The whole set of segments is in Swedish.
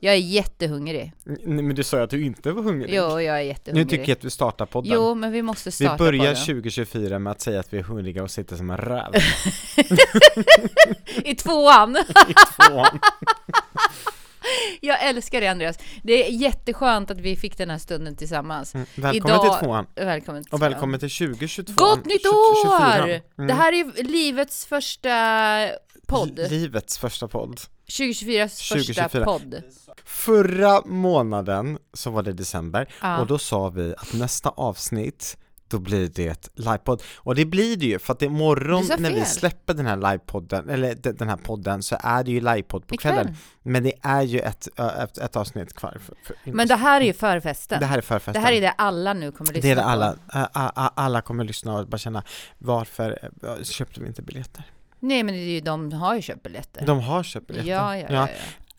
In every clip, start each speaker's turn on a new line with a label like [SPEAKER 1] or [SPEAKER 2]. [SPEAKER 1] Jag är jättehungrig.
[SPEAKER 2] Nej, men du sa ju att du inte var hungrig.
[SPEAKER 1] Jo, jag är
[SPEAKER 2] nu
[SPEAKER 1] jättehungrig.
[SPEAKER 2] tycker jag att vi startar podden.
[SPEAKER 1] Jo, men vi måste
[SPEAKER 2] vi
[SPEAKER 1] starta
[SPEAKER 2] börjar
[SPEAKER 1] podden.
[SPEAKER 2] 2024 med att säga att vi är hungriga och sitter som en räv.
[SPEAKER 1] I tvåan!
[SPEAKER 2] Tvåan.
[SPEAKER 1] Jag älskar det Andreas. Det är jätteskönt att vi fick den här stunden tillsammans.
[SPEAKER 2] Mm, Välkommen
[SPEAKER 1] Idag-
[SPEAKER 2] till tvåan.
[SPEAKER 1] Välkommen till
[SPEAKER 2] Och välkommen till 2022.
[SPEAKER 1] Gott nytt
[SPEAKER 2] 2024.
[SPEAKER 1] år!
[SPEAKER 2] Mm.
[SPEAKER 1] Det här är ju livets första podd.
[SPEAKER 2] Li- Livets första podd.
[SPEAKER 1] 2024s första
[SPEAKER 2] 2024.
[SPEAKER 1] podd.
[SPEAKER 2] Förra månaden så var det december
[SPEAKER 1] Ja.
[SPEAKER 2] och då sa vi att nästa avsnitt då blir det livepodd. Och det blir det ju för att imorgon
[SPEAKER 1] Du sa
[SPEAKER 2] när vi
[SPEAKER 1] fel.
[SPEAKER 2] släpper den här livepodden, eller de- den här podden, så är det ju livepodd på
[SPEAKER 1] Ikväll.
[SPEAKER 2] kvällen. Men det är ju ett, ö, ett, ett avsnitt kvar. För, för,
[SPEAKER 1] Men det här är ju förfesten.
[SPEAKER 2] det här är förfesten.
[SPEAKER 1] Det här är det alla nu kommer lyssna
[SPEAKER 2] Det är det
[SPEAKER 1] på.
[SPEAKER 2] alla, a- a- a- alla kommer lyssna och bara känna varför eh, köpte vi inte biljetter?
[SPEAKER 1] Nej men det är ju, de har ju köpt biljetter.
[SPEAKER 2] De har köpt
[SPEAKER 1] ja,
[SPEAKER 2] biljetter.
[SPEAKER 1] ja, ja. ja.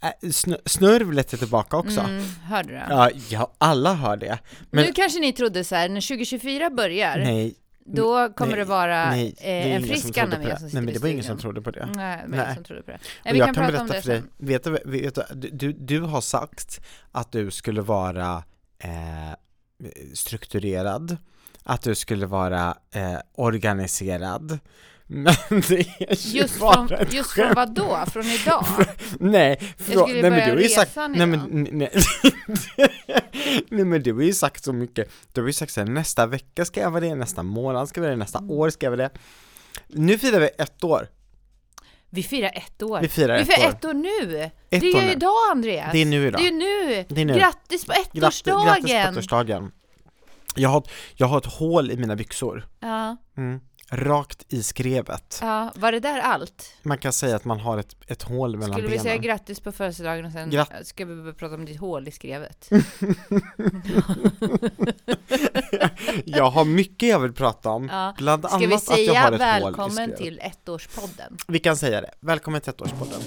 [SPEAKER 2] Eh, snö- Snörvlet är tillbaka också.
[SPEAKER 1] Mm, hörde du? det?
[SPEAKER 2] Ja, ja, alla hör det. Men-
[SPEAKER 1] Nu kanske ni trodde så här, när 2024 börjar,
[SPEAKER 2] Nej,
[SPEAKER 1] då kommer
[SPEAKER 2] nej,
[SPEAKER 1] det vara
[SPEAKER 2] nej, det är
[SPEAKER 1] eh, en
[SPEAKER 2] ingen som
[SPEAKER 1] frisk
[SPEAKER 2] trodde
[SPEAKER 1] Anna
[SPEAKER 2] på det.
[SPEAKER 1] med som sitter
[SPEAKER 2] Nej men
[SPEAKER 1] i
[SPEAKER 2] det var ingen som
[SPEAKER 1] studion.
[SPEAKER 2] trodde på det.
[SPEAKER 1] Nej, det var ingen
[SPEAKER 2] Nej.
[SPEAKER 1] som trodde på det. Nej,
[SPEAKER 2] Och
[SPEAKER 1] vi
[SPEAKER 2] jag
[SPEAKER 1] kan,
[SPEAKER 2] kan
[SPEAKER 1] prata om
[SPEAKER 2] berätta
[SPEAKER 1] det
[SPEAKER 2] för dig,
[SPEAKER 1] sen.
[SPEAKER 2] vet du, vet du, du- du, du har sagt att du skulle vara eh, strukturerad, att du skulle vara eh, organiserad, men det är ju
[SPEAKER 1] Just
[SPEAKER 2] bara
[SPEAKER 1] från,
[SPEAKER 2] ett
[SPEAKER 1] just
[SPEAKER 2] skämt.
[SPEAKER 1] från vad då? Från idag?
[SPEAKER 2] Nej,
[SPEAKER 1] Jag skulle
[SPEAKER 2] nej men
[SPEAKER 1] börja
[SPEAKER 2] du har ju sagt,
[SPEAKER 1] resan
[SPEAKER 2] nej
[SPEAKER 1] idag.
[SPEAKER 2] men, nej, nej men du har ju sagt så mycket, du har ju sagt så här, nästa vecka ska jag vara det, nästa månad ska jag vara det,
[SPEAKER 1] Mm.
[SPEAKER 2] nästa år ska jag vara det. Nu firar vi ett år,
[SPEAKER 1] Vi firar ett år.
[SPEAKER 2] vi firar
[SPEAKER 1] Vi
[SPEAKER 2] ett
[SPEAKER 1] firar
[SPEAKER 2] år.
[SPEAKER 1] ett år nu!
[SPEAKER 2] Ett
[SPEAKER 1] det är
[SPEAKER 2] år
[SPEAKER 1] ju
[SPEAKER 2] nu.
[SPEAKER 1] idag Andreas!
[SPEAKER 2] Det är nu idag.
[SPEAKER 1] Det är nu!
[SPEAKER 2] Det är nu.
[SPEAKER 1] Grattis på
[SPEAKER 2] Grattis, grattis på
[SPEAKER 1] ettårsdagen!
[SPEAKER 2] ettårsdagen. Jag har, ett- jag har ett hål i mina byxor.
[SPEAKER 1] Ja,
[SPEAKER 2] Mm. Rakt i skrevet.
[SPEAKER 1] ja, var det där allt?
[SPEAKER 2] Man kan säga att man har ett, ett hål mellan
[SPEAKER 1] Skulle vi
[SPEAKER 2] benen.
[SPEAKER 1] säga grattis på födelsedagen och sen
[SPEAKER 2] Gratt-
[SPEAKER 1] ska vi börja prata om ditt hål i skrevet?
[SPEAKER 2] jag har mycket jag vill prata om.
[SPEAKER 1] Ja.
[SPEAKER 2] Bland
[SPEAKER 1] Ska vi
[SPEAKER 2] annat att jag
[SPEAKER 1] säga
[SPEAKER 2] har ett hål i
[SPEAKER 1] välkommen
[SPEAKER 2] skrevet.
[SPEAKER 1] till ettårspodden?
[SPEAKER 2] Vi kan säga det. Välkommen till ettårspodden.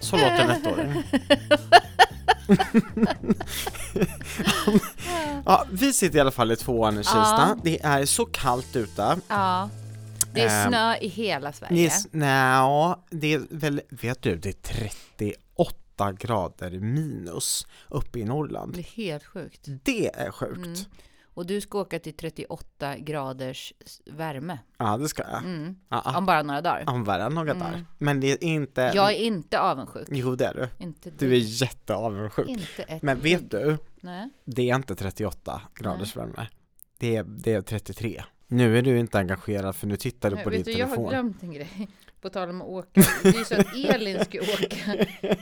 [SPEAKER 2] Så låter en ettåring. ja, vi sitter i alla fall i tvåan i Kista. Det är så kallt ute.
[SPEAKER 1] Ja. Det är
[SPEAKER 2] Ehm,
[SPEAKER 1] snö i hela Sverige.
[SPEAKER 2] Yes, nja, det är väl, vet du, det är 38 grader minus uppe i
[SPEAKER 1] Det
[SPEAKER 2] Norrland.
[SPEAKER 1] är helt sjukt.
[SPEAKER 2] Det är sjukt.
[SPEAKER 1] Mm. Och du ska åka till 38 graders s- värme.
[SPEAKER 2] Ja, det ska jag.
[SPEAKER 1] Mm.
[SPEAKER 2] Ja, ja.
[SPEAKER 1] Om bara några dagar.
[SPEAKER 2] Använda några
[SPEAKER 1] Mm.
[SPEAKER 2] där. Men det är inte...
[SPEAKER 1] Jag är inte avundsjuk.
[SPEAKER 2] ehm. Jo, det är du.
[SPEAKER 1] Inte
[SPEAKER 2] Du är
[SPEAKER 1] ett-
[SPEAKER 2] jätteavundsjuk.
[SPEAKER 1] Inte ett
[SPEAKER 2] Men vet du,
[SPEAKER 1] Nej.
[SPEAKER 2] det är inte 38 graders värme. Det är, det är 33. Nu är du inte engagerad för nu tittar du
[SPEAKER 1] Nej,
[SPEAKER 2] på din
[SPEAKER 1] vet du, jag har
[SPEAKER 2] telefon.
[SPEAKER 1] glömt en grej. På tal om att åka. Det är ju så att Elin ska åka.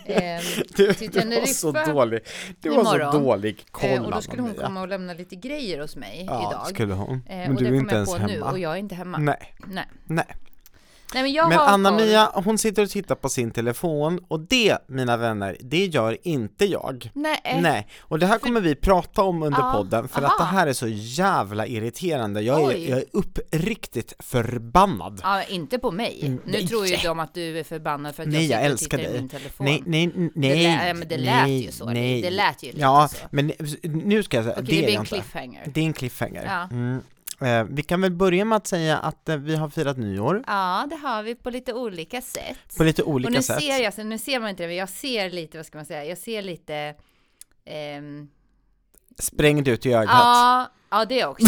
[SPEAKER 1] ehm,
[SPEAKER 2] Du,
[SPEAKER 1] till
[SPEAKER 2] du var så
[SPEAKER 1] Teneriffa
[SPEAKER 2] dålig. Du var så
[SPEAKER 1] imorgon.
[SPEAKER 2] dålig. Kolla
[SPEAKER 1] eh, och då skulle hon
[SPEAKER 2] Maria.
[SPEAKER 1] komma och lämna lite grejer hos mig
[SPEAKER 2] ja,
[SPEAKER 1] idag.
[SPEAKER 2] skulle hon.
[SPEAKER 1] Eh,
[SPEAKER 2] Men
[SPEAKER 1] och
[SPEAKER 2] du
[SPEAKER 1] det
[SPEAKER 2] är
[SPEAKER 1] kom
[SPEAKER 2] inte
[SPEAKER 1] jag
[SPEAKER 2] ens
[SPEAKER 1] på nu
[SPEAKER 2] hemma.
[SPEAKER 1] och jag är inte hemma. Nej,
[SPEAKER 2] Nej,
[SPEAKER 1] nej.
[SPEAKER 2] nej.
[SPEAKER 1] men jag
[SPEAKER 2] Men
[SPEAKER 1] har koll.
[SPEAKER 2] Anna-Mia, hon sitter och tittar på sin telefon och det, mina vänner, det gör inte jag.
[SPEAKER 1] Nej.
[SPEAKER 2] Nej, och det här kommer vi prata om under
[SPEAKER 1] Ah,
[SPEAKER 2] podden för att
[SPEAKER 1] Eh. aha.
[SPEAKER 2] det här är så jävla irriterande. Jag är,
[SPEAKER 1] Oj.
[SPEAKER 2] jag är uppriktigt förbannad.
[SPEAKER 1] Ja, inte på mig.
[SPEAKER 2] Typ. Mm,
[SPEAKER 1] Nu
[SPEAKER 2] nej.
[SPEAKER 1] tror ju de att du är förbannad för att
[SPEAKER 2] Nej,
[SPEAKER 1] jag,
[SPEAKER 2] jag
[SPEAKER 1] sitter och
[SPEAKER 2] älskar
[SPEAKER 1] tittar i
[SPEAKER 2] dig.
[SPEAKER 1] min telefon.
[SPEAKER 2] Nej, nej, nej,
[SPEAKER 1] det,
[SPEAKER 2] nej,
[SPEAKER 1] lä- ja, men det lät ju så.
[SPEAKER 2] nej.
[SPEAKER 1] Det lät ju lite
[SPEAKER 2] Ja,
[SPEAKER 1] så.
[SPEAKER 2] men nu ska jag säga,
[SPEAKER 1] Okej,
[SPEAKER 2] det,
[SPEAKER 1] det,
[SPEAKER 2] är
[SPEAKER 1] blir
[SPEAKER 2] jag
[SPEAKER 1] en
[SPEAKER 2] inte.
[SPEAKER 1] cliffhanger.
[SPEAKER 2] Det är en cliffhanger.
[SPEAKER 1] Ja.
[SPEAKER 2] Mm. Eh, vi kan väl börja med att säga att eh, vi har firat nyår
[SPEAKER 1] Ja, det har vi på lite olika sätt.
[SPEAKER 2] på lite olika
[SPEAKER 1] och nu
[SPEAKER 2] sätt.
[SPEAKER 1] ser jag, så nu ser man inte det, men jag ser lite, vad ska man säga, jag ser lite... ehm,
[SPEAKER 2] Sprängd ut i ögat.
[SPEAKER 1] ja, ja, det också.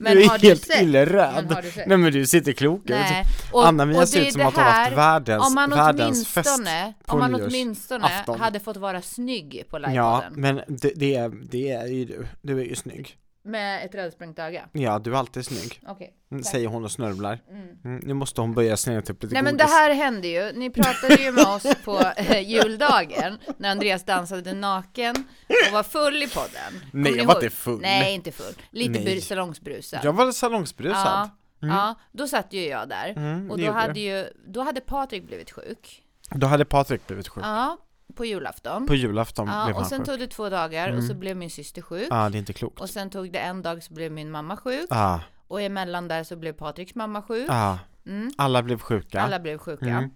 [SPEAKER 1] men
[SPEAKER 2] du är
[SPEAKER 1] har du
[SPEAKER 2] helt
[SPEAKER 1] sett? Men
[SPEAKER 2] illröd.
[SPEAKER 1] har du sett?
[SPEAKER 2] Nej men du sitter klok ut.
[SPEAKER 1] Nej.
[SPEAKER 2] Anna-Mia
[SPEAKER 1] och
[SPEAKER 2] ser
[SPEAKER 1] det
[SPEAKER 2] ut
[SPEAKER 1] är
[SPEAKER 2] som
[SPEAKER 1] det
[SPEAKER 2] att hon har haft
[SPEAKER 1] här,
[SPEAKER 2] världens,
[SPEAKER 1] om man
[SPEAKER 2] världens fest.
[SPEAKER 1] åtminstone,
[SPEAKER 2] på
[SPEAKER 1] om man
[SPEAKER 2] nyårs-
[SPEAKER 1] åtminstone
[SPEAKER 2] afton.
[SPEAKER 1] hade fått vara snygg på
[SPEAKER 2] Ja,
[SPEAKER 1] livepodden
[SPEAKER 2] men det, det, är, det är ju du. Du är ju snygg.
[SPEAKER 1] med ett rödsprängt öga.
[SPEAKER 2] Ja, du är alltid snygg.
[SPEAKER 1] Okej.
[SPEAKER 2] Mm,
[SPEAKER 1] Tack.
[SPEAKER 2] Säger hon och snörvlar.
[SPEAKER 1] Mm.
[SPEAKER 2] Mm, nu måste hon börja snälla upp lite
[SPEAKER 1] Nej men det
[SPEAKER 2] godis.
[SPEAKER 1] här hände ju, ni pratade ju med oss på eh, juldagen när Andreas dansade naken och var full i podden. Kommer
[SPEAKER 2] Nej
[SPEAKER 1] ni
[SPEAKER 2] jag var
[SPEAKER 1] ihåg?
[SPEAKER 2] inte full.
[SPEAKER 1] Nej inte full, lite
[SPEAKER 2] Nej.
[SPEAKER 1] bur- salongsbrusad.
[SPEAKER 2] Jag var salongsbrusad.
[SPEAKER 1] Ja, ja, då satt ju jag där
[SPEAKER 2] Mm,
[SPEAKER 1] och
[SPEAKER 2] det
[SPEAKER 1] då
[SPEAKER 2] gjorde
[SPEAKER 1] hade ju, då hade Patrik blivit sjuk.
[SPEAKER 2] Då hade Patrik blivit sjuk.
[SPEAKER 1] Ja, på julafton.
[SPEAKER 2] På julafton
[SPEAKER 1] Ja,
[SPEAKER 2] blev
[SPEAKER 1] och
[SPEAKER 2] han
[SPEAKER 1] sen
[SPEAKER 2] sjuk. Mm.
[SPEAKER 1] tog det två dagar och så blev min syster sjuk.
[SPEAKER 2] Ja, det är inte klokt.
[SPEAKER 1] Och sen tog det en dag så blev min mamma sjuk.
[SPEAKER 2] Ah,
[SPEAKER 1] Och emellan där så blev Patriks mamma sjuk.
[SPEAKER 2] ah.
[SPEAKER 1] Mm.
[SPEAKER 2] Alla blev sjuka.
[SPEAKER 1] Alla blev sjuka.
[SPEAKER 2] Mm.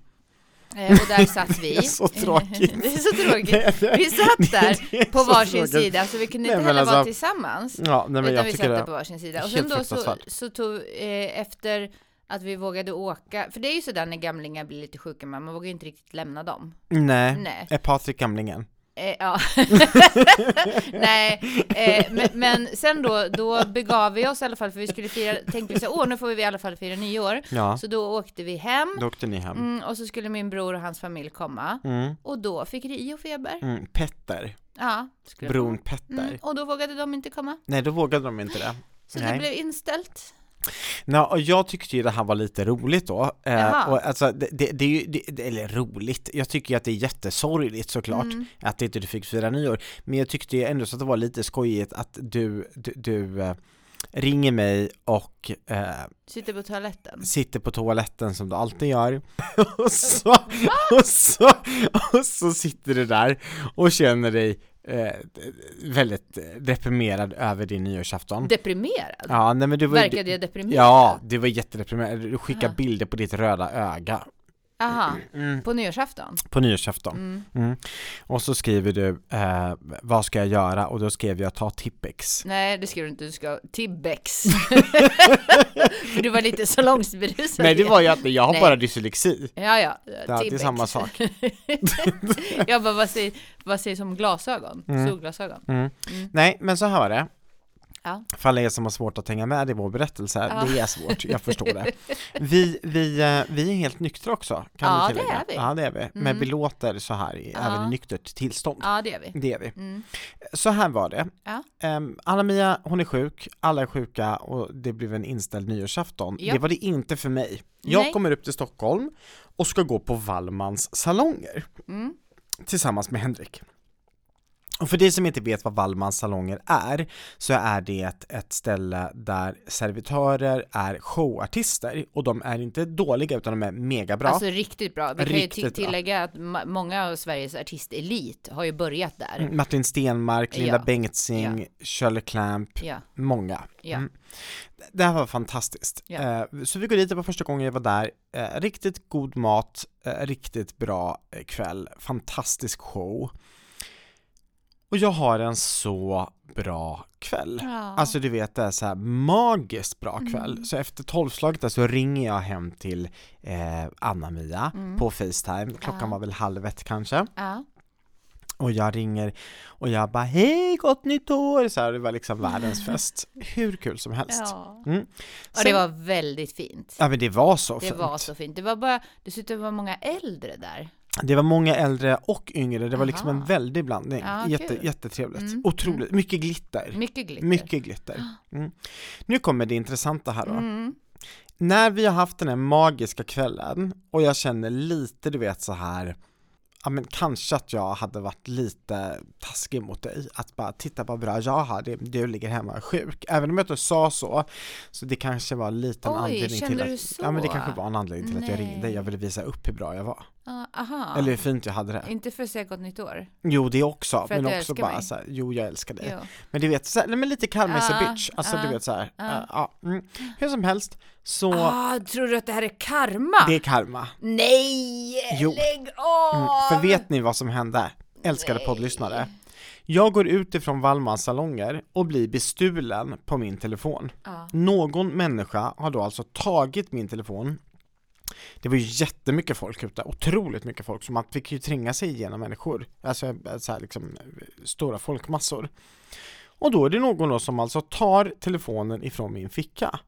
[SPEAKER 1] Eh, Och där satt vi.
[SPEAKER 2] Det är så tråkigt.
[SPEAKER 1] det är så tråkigt.
[SPEAKER 2] Det- det-
[SPEAKER 1] Vi satt
[SPEAKER 2] det är
[SPEAKER 1] där på
[SPEAKER 2] så
[SPEAKER 1] varsin
[SPEAKER 2] tråkigt.
[SPEAKER 1] sida, så vi kunde
[SPEAKER 2] Nej,
[SPEAKER 1] inte
[SPEAKER 2] men
[SPEAKER 1] heller vara
[SPEAKER 2] alltså-
[SPEAKER 1] tillsammans.
[SPEAKER 2] Ja, nej men
[SPEAKER 1] utan
[SPEAKER 2] jag
[SPEAKER 1] vi
[SPEAKER 2] tycker
[SPEAKER 1] satt där
[SPEAKER 2] det.
[SPEAKER 1] på varsin sida. Och
[SPEAKER 2] helt
[SPEAKER 1] sen då så,
[SPEAKER 2] fruktansvärt.
[SPEAKER 1] så tog, eh, efter att vi vågade åka, för det är ju sådär när gamlingar blir lite sjuka, men man vågar ju inte riktigt lämna dem.
[SPEAKER 2] Nej.
[SPEAKER 1] Nej.
[SPEAKER 2] Är Patrik Gamlingen?
[SPEAKER 1] Eh, ja. Nej, eh, men, men sen då, då begav vi oss i alla fall, för vi skulle fira, tänkte vi så här, åh nu får vi i alla fall fira nyår.
[SPEAKER 2] Ja,
[SPEAKER 1] Så då åkte vi hem,
[SPEAKER 2] då åkte ni hem.
[SPEAKER 1] mm, och så skulle min bror och hans familj komma.
[SPEAKER 2] Mm.
[SPEAKER 1] Och då fick Rio feber.
[SPEAKER 2] Mm. Petter,
[SPEAKER 1] Ja, skulle de
[SPEAKER 2] bron
[SPEAKER 1] komma.
[SPEAKER 2] Petter.
[SPEAKER 1] Mm, och då vågade de inte komma.
[SPEAKER 2] Nej, då vågade de inte det.
[SPEAKER 1] Så det
[SPEAKER 2] Nej.
[SPEAKER 1] blev inställt.
[SPEAKER 2] Nå, och jag tyckte ju det här var lite roligt då.
[SPEAKER 1] Jaha.
[SPEAKER 2] Eh, och alltså, det, det, det är ju, det, det- eller roligt, jag tycker ju att det är jättesorgligt såklart
[SPEAKER 1] Mm.
[SPEAKER 2] att inte du fick fira nyår. Men jag tyckte ju ändå så att det var lite skojigt att du, du, du eh, ringer mig och eh,
[SPEAKER 1] Sitter på toaletten.
[SPEAKER 2] sitter på toaletten som du alltid gör och så, och så, och så sitter du där och känner dig eh, väldigt deprimerad över din nyårsafton.
[SPEAKER 1] Deprimerad?
[SPEAKER 2] Ja, nej men du var ju-
[SPEAKER 1] Verkade jag deprimerad?
[SPEAKER 2] Ja, det var jättedeprimerande. Du skickar
[SPEAKER 1] Aha.
[SPEAKER 2] bilder på ditt röda öga
[SPEAKER 1] Aha,
[SPEAKER 2] mm.
[SPEAKER 1] på nyårsafton?
[SPEAKER 2] på nyårsafton.
[SPEAKER 1] Mm.
[SPEAKER 2] Mm. Och så skriver du, eh, vad ska jag göra? Och då skrev jag, ta Tippex.
[SPEAKER 1] Nej, det ska du inte. Du ska Tibbex. För du var lite salongsberusad.
[SPEAKER 2] Nej, det var jag inte. Jag har
[SPEAKER 1] Nej.
[SPEAKER 2] bara dyslexi.
[SPEAKER 1] Ja, ja.
[SPEAKER 2] Det är
[SPEAKER 1] Tibbex.
[SPEAKER 2] samma sak.
[SPEAKER 1] jag bara, vad säger, vad säger som glasögon?
[SPEAKER 2] Mm.
[SPEAKER 1] Solglasögon?
[SPEAKER 2] Mm.
[SPEAKER 1] Mm.
[SPEAKER 2] Nej, men så här var det.
[SPEAKER 1] Ja.
[SPEAKER 2] För er som har svårt att hänga med i vår berättelse,
[SPEAKER 1] Ja.
[SPEAKER 2] det är svårt, jag förstår det. Vi, vi, eh, vi är helt nyktra också, kan
[SPEAKER 1] Ja,
[SPEAKER 2] vi tillägga.
[SPEAKER 1] det är vi.
[SPEAKER 2] Ja, det är vi. Men
[SPEAKER 1] Mm.
[SPEAKER 2] vi låter så här, i-
[SPEAKER 1] Ja.
[SPEAKER 2] även i nyktert tillstånd.
[SPEAKER 1] Ja, det är vi.
[SPEAKER 2] Det är vi.
[SPEAKER 1] Mm.
[SPEAKER 2] Så här var det.
[SPEAKER 1] Ja.
[SPEAKER 2] Ehm, Anna-Mia, hon är sjuk, alla är sjuka och det blev en inställd nyårsafton.
[SPEAKER 1] Ja.
[SPEAKER 2] Det var det inte för mig. Jag
[SPEAKER 1] Nej.
[SPEAKER 2] kommer upp till Stockholm och ska gå på Wallmans salonger
[SPEAKER 1] Mm.
[SPEAKER 2] tillsammans med Henrik. Och för de som inte vet vad Wallmans salonger är, så är det ett, ett ställe där servitörer är showartister och de är inte dåliga utan de är mega bra.
[SPEAKER 1] Alltså riktigt bra. Vi kan ju
[SPEAKER 2] Riktigt
[SPEAKER 1] ti-
[SPEAKER 2] bra.
[SPEAKER 1] tillägga att ma- många av Sveriges artistelit har ju börjat där.
[SPEAKER 2] Martin Stenmark, Linda
[SPEAKER 1] Ja.
[SPEAKER 2] Bengtzing, Shirley Clamp,
[SPEAKER 1] Ja,
[SPEAKER 2] många.
[SPEAKER 1] ja.
[SPEAKER 2] Mm. Det här var fantastiskt.
[SPEAKER 1] Ja.
[SPEAKER 2] Eh, Så vi går dit, det var första gången jag var där. Eh, Riktigt god mat, eh, riktigt bra eh, kväll, fantastisk show. Och jag har en så bra kväll.
[SPEAKER 1] ja. Mm.
[SPEAKER 2] Alltså du vet det är så här magiskt bra kväll. Så efter tolvslaget där så ringer jag hem till eh, Anna-Mia på Facetime. Klockan
[SPEAKER 1] Mm. Ja.
[SPEAKER 2] var väl halv ett kanske.
[SPEAKER 1] ja.
[SPEAKER 2] Och jag ringer och jag bara hej gott nytt år! Så här, det var liksom världens fest. Hur kul som helst.
[SPEAKER 1] Ja.
[SPEAKER 2] Mm.
[SPEAKER 1] Och det
[SPEAKER 2] Sen-
[SPEAKER 1] var väldigt fint.
[SPEAKER 2] Ja men det var så
[SPEAKER 1] Det
[SPEAKER 2] fint.
[SPEAKER 1] var så fint. Det var bara, dessutom var många äldre där.
[SPEAKER 2] Det var många äldre och yngre, det var liksom
[SPEAKER 1] Aha.
[SPEAKER 2] en väldig blandning.
[SPEAKER 1] Ja,
[SPEAKER 2] Jätte,
[SPEAKER 1] kul.
[SPEAKER 2] jättetrevligt.
[SPEAKER 1] Mm,
[SPEAKER 2] Otroligt, mycket glitter.
[SPEAKER 1] Mycket glitter.
[SPEAKER 2] Mycket glitter. Mm. Nu kommer det intressanta här då.
[SPEAKER 1] Mm.
[SPEAKER 2] När vi har haft den här magiska kvällen och jag känner lite du vet så här Ja men kanske att jag hade varit lite taskig mot dig, att bara titta vad bra jag har det, du ligger hemma och är sjuk. Även om jag inte sa så, så det kanske var lite en
[SPEAKER 1] Oj,
[SPEAKER 2] anledning
[SPEAKER 1] kände
[SPEAKER 2] till att,
[SPEAKER 1] du så?
[SPEAKER 2] Ja men det kanske var en anledning till att jag
[SPEAKER 1] Nej.
[SPEAKER 2] ringde, jag ville visa upp hur bra jag var.
[SPEAKER 1] Ja, aha.
[SPEAKER 2] Eller hur fint jag hade det.
[SPEAKER 1] Inte för att säga gott nytt år.
[SPEAKER 2] Jo det också,
[SPEAKER 1] För att
[SPEAKER 2] men
[SPEAKER 1] du
[SPEAKER 2] också
[SPEAKER 1] älskar
[SPEAKER 2] bara
[SPEAKER 1] mig.
[SPEAKER 2] såhär, jo jag älskar dig.
[SPEAKER 1] Jo.
[SPEAKER 2] Men du vet, såhär, nej, men lite karma is a
[SPEAKER 1] Ah,
[SPEAKER 2] bitch, alltså du
[SPEAKER 1] ah,
[SPEAKER 2] vet såhär,
[SPEAKER 1] ah.
[SPEAKER 2] eh, ja. mm. Hur som helst, så
[SPEAKER 1] Ah, tror du att det här är karma?
[SPEAKER 2] det är karma.
[SPEAKER 1] Nej!
[SPEAKER 2] Jo.
[SPEAKER 1] Lägg av!
[SPEAKER 2] Mm. För vet ni vad som hände? Älskade poddlyssnare. Jag går ut ifrån Wallmans salonger och blir bestulen på min telefon.
[SPEAKER 1] Ja.
[SPEAKER 2] Någon människa har då alltså tagit min telefon det var ju jättemycket folk ute, otroligt mycket folk, så man fick ju tränga sig igenom människor, alltså så här liksom stora folkmassor. Och då är det någon då som alltså tar telefonen ifrån min ficka.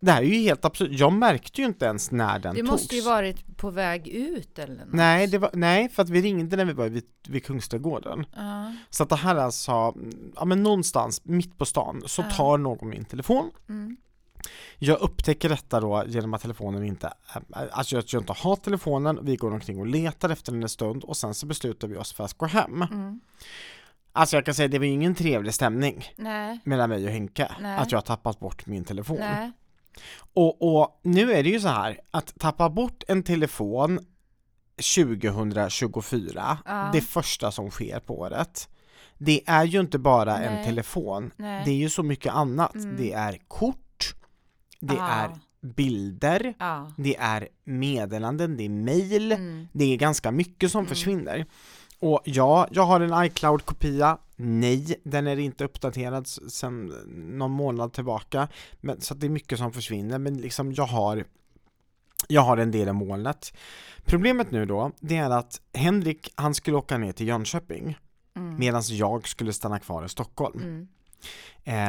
[SPEAKER 2] Det här är ju helt absurt, jag märkte ju inte ens när den
[SPEAKER 1] Det
[SPEAKER 2] togs.
[SPEAKER 1] måste ju varit på väg ut eller något.
[SPEAKER 2] Nej, det var, nej, för att vi ringde när vi var vid, vid Kungsträdgården.
[SPEAKER 1] Ja.
[SPEAKER 2] Så att det här är alltså, mm, ja men någonstans mitt på stan så
[SPEAKER 1] Ja.
[SPEAKER 2] tar någon min telefon.
[SPEAKER 1] Mm.
[SPEAKER 2] Jag upptäcker detta då genom att telefonen inte, äh, alltså att jag inte har telefonen, vi går omkring och letar efter den en stund och sen så beslutar vi oss för att gå hem.
[SPEAKER 1] Mm.
[SPEAKER 2] Alltså jag kan säga det var ju ingen trevlig stämning
[SPEAKER 1] Nej.
[SPEAKER 2] mellan mig och Henke,
[SPEAKER 1] Nej.
[SPEAKER 2] att jag har tappat bort min telefon.
[SPEAKER 1] Nej.
[SPEAKER 2] Och, och nu är det ju så här, att tappa bort en telefon 2024,
[SPEAKER 1] Ja.
[SPEAKER 2] det första som sker på året, det är ju inte bara en
[SPEAKER 1] Nej.
[SPEAKER 2] telefon,
[SPEAKER 1] Nej.
[SPEAKER 2] det är ju så mycket annat.
[SPEAKER 1] Mm.
[SPEAKER 2] Det är kort, det
[SPEAKER 1] Ah.
[SPEAKER 2] är bilder,
[SPEAKER 1] Ja.
[SPEAKER 2] det är meddelanden, det är mail,
[SPEAKER 1] Mm.
[SPEAKER 2] det är ganska mycket som försvinner. Och ja, jag har en iCloud-kopia. Nej, den är inte uppdaterad s- sedan någon månad tillbaka. Men, så att det är mycket som försvinner, men liksom jag har jag har en del i molnet. Problemet nu då, det är att Henrik, han skulle åka ner till Jönköping
[SPEAKER 1] Mm.
[SPEAKER 2] medan jag skulle stanna kvar i Stockholm.
[SPEAKER 1] Mm.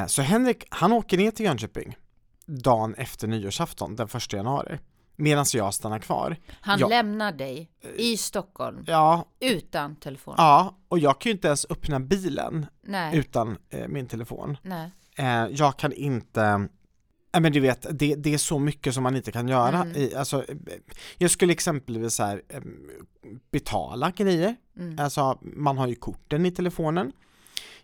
[SPEAKER 2] Eh, så Henrik, han åker ner till Jönköping dagen efter nyårsafton, den 1 januari. Medan jag stannar kvar.
[SPEAKER 1] Han
[SPEAKER 2] Ja.
[SPEAKER 1] lämnar dig i Stockholm
[SPEAKER 2] Ja,
[SPEAKER 1] utan telefon.
[SPEAKER 2] ja, och jag kan ju inte ens öppna bilen
[SPEAKER 1] Nej.
[SPEAKER 2] utan eh, min telefon.
[SPEAKER 1] Nej.
[SPEAKER 2] Eh, jag kan inte, ja men du vet, det, det är så mycket som man inte kan göra.
[SPEAKER 1] Mm.
[SPEAKER 2] I, alltså, eh, jag skulle exempelvis så här, eh, betala grejer,
[SPEAKER 1] Mm.
[SPEAKER 2] alltså man har ju korten i telefonen.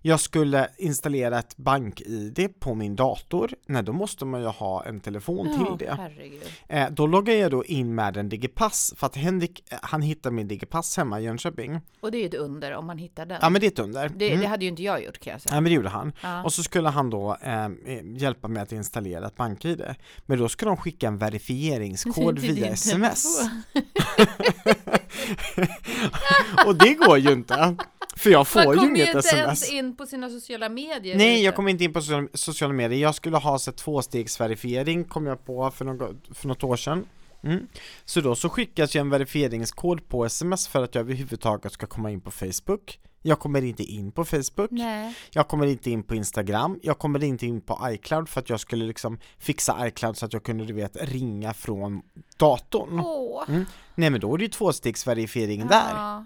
[SPEAKER 2] Jag skulle installera ett bank-id på min dator, nej då måste man ju ha en telefon
[SPEAKER 1] Ja,
[SPEAKER 2] till det.
[SPEAKER 1] Herregud.
[SPEAKER 2] Eh, då loggar jag då in med en digipass, för att Henrik, eh, han hittar min digipass hemma i Jönköping.
[SPEAKER 1] Och det är ju ett under om man hittar den.
[SPEAKER 2] Ja men det är ett under.
[SPEAKER 1] det,
[SPEAKER 2] Mm.
[SPEAKER 1] det hade ju inte jag gjort kan jag säga.
[SPEAKER 2] Ja men det gjorde han.
[SPEAKER 1] Ja.
[SPEAKER 2] Och så skulle han då eh, hjälpa mig att installera ett bank-id. Men då skulle de skicka en verifieringskod
[SPEAKER 1] Till din
[SPEAKER 2] via sms.
[SPEAKER 1] telefon.
[SPEAKER 2] Och det går ju inte. För jag får
[SPEAKER 1] Man
[SPEAKER 2] ju
[SPEAKER 1] kommer ju
[SPEAKER 2] inget
[SPEAKER 1] inte ens
[SPEAKER 2] sms.
[SPEAKER 1] in på sina sociala medier.
[SPEAKER 2] Nej,
[SPEAKER 1] vet
[SPEAKER 2] jag
[SPEAKER 1] du.
[SPEAKER 2] kom inte in på social- sociala medier. Jag skulle ha sett tvåstegsverifiering, kom jag på för något, för något år sedan. Mm. Så då så skickas ju en verifieringskod på sms för att jag överhuvudtaget ska komma in på Facebook. Jag kommer inte in på Facebook.
[SPEAKER 1] Nej.
[SPEAKER 2] Jag kommer inte in på Instagram, jag kommer inte in på iCloud för att jag skulle liksom fixa iCloud så att jag kunde du vet ringa från datorn.
[SPEAKER 1] Åh.
[SPEAKER 2] Nej men då är det ju tvåstegsverifiering Mm. där.
[SPEAKER 1] Ja.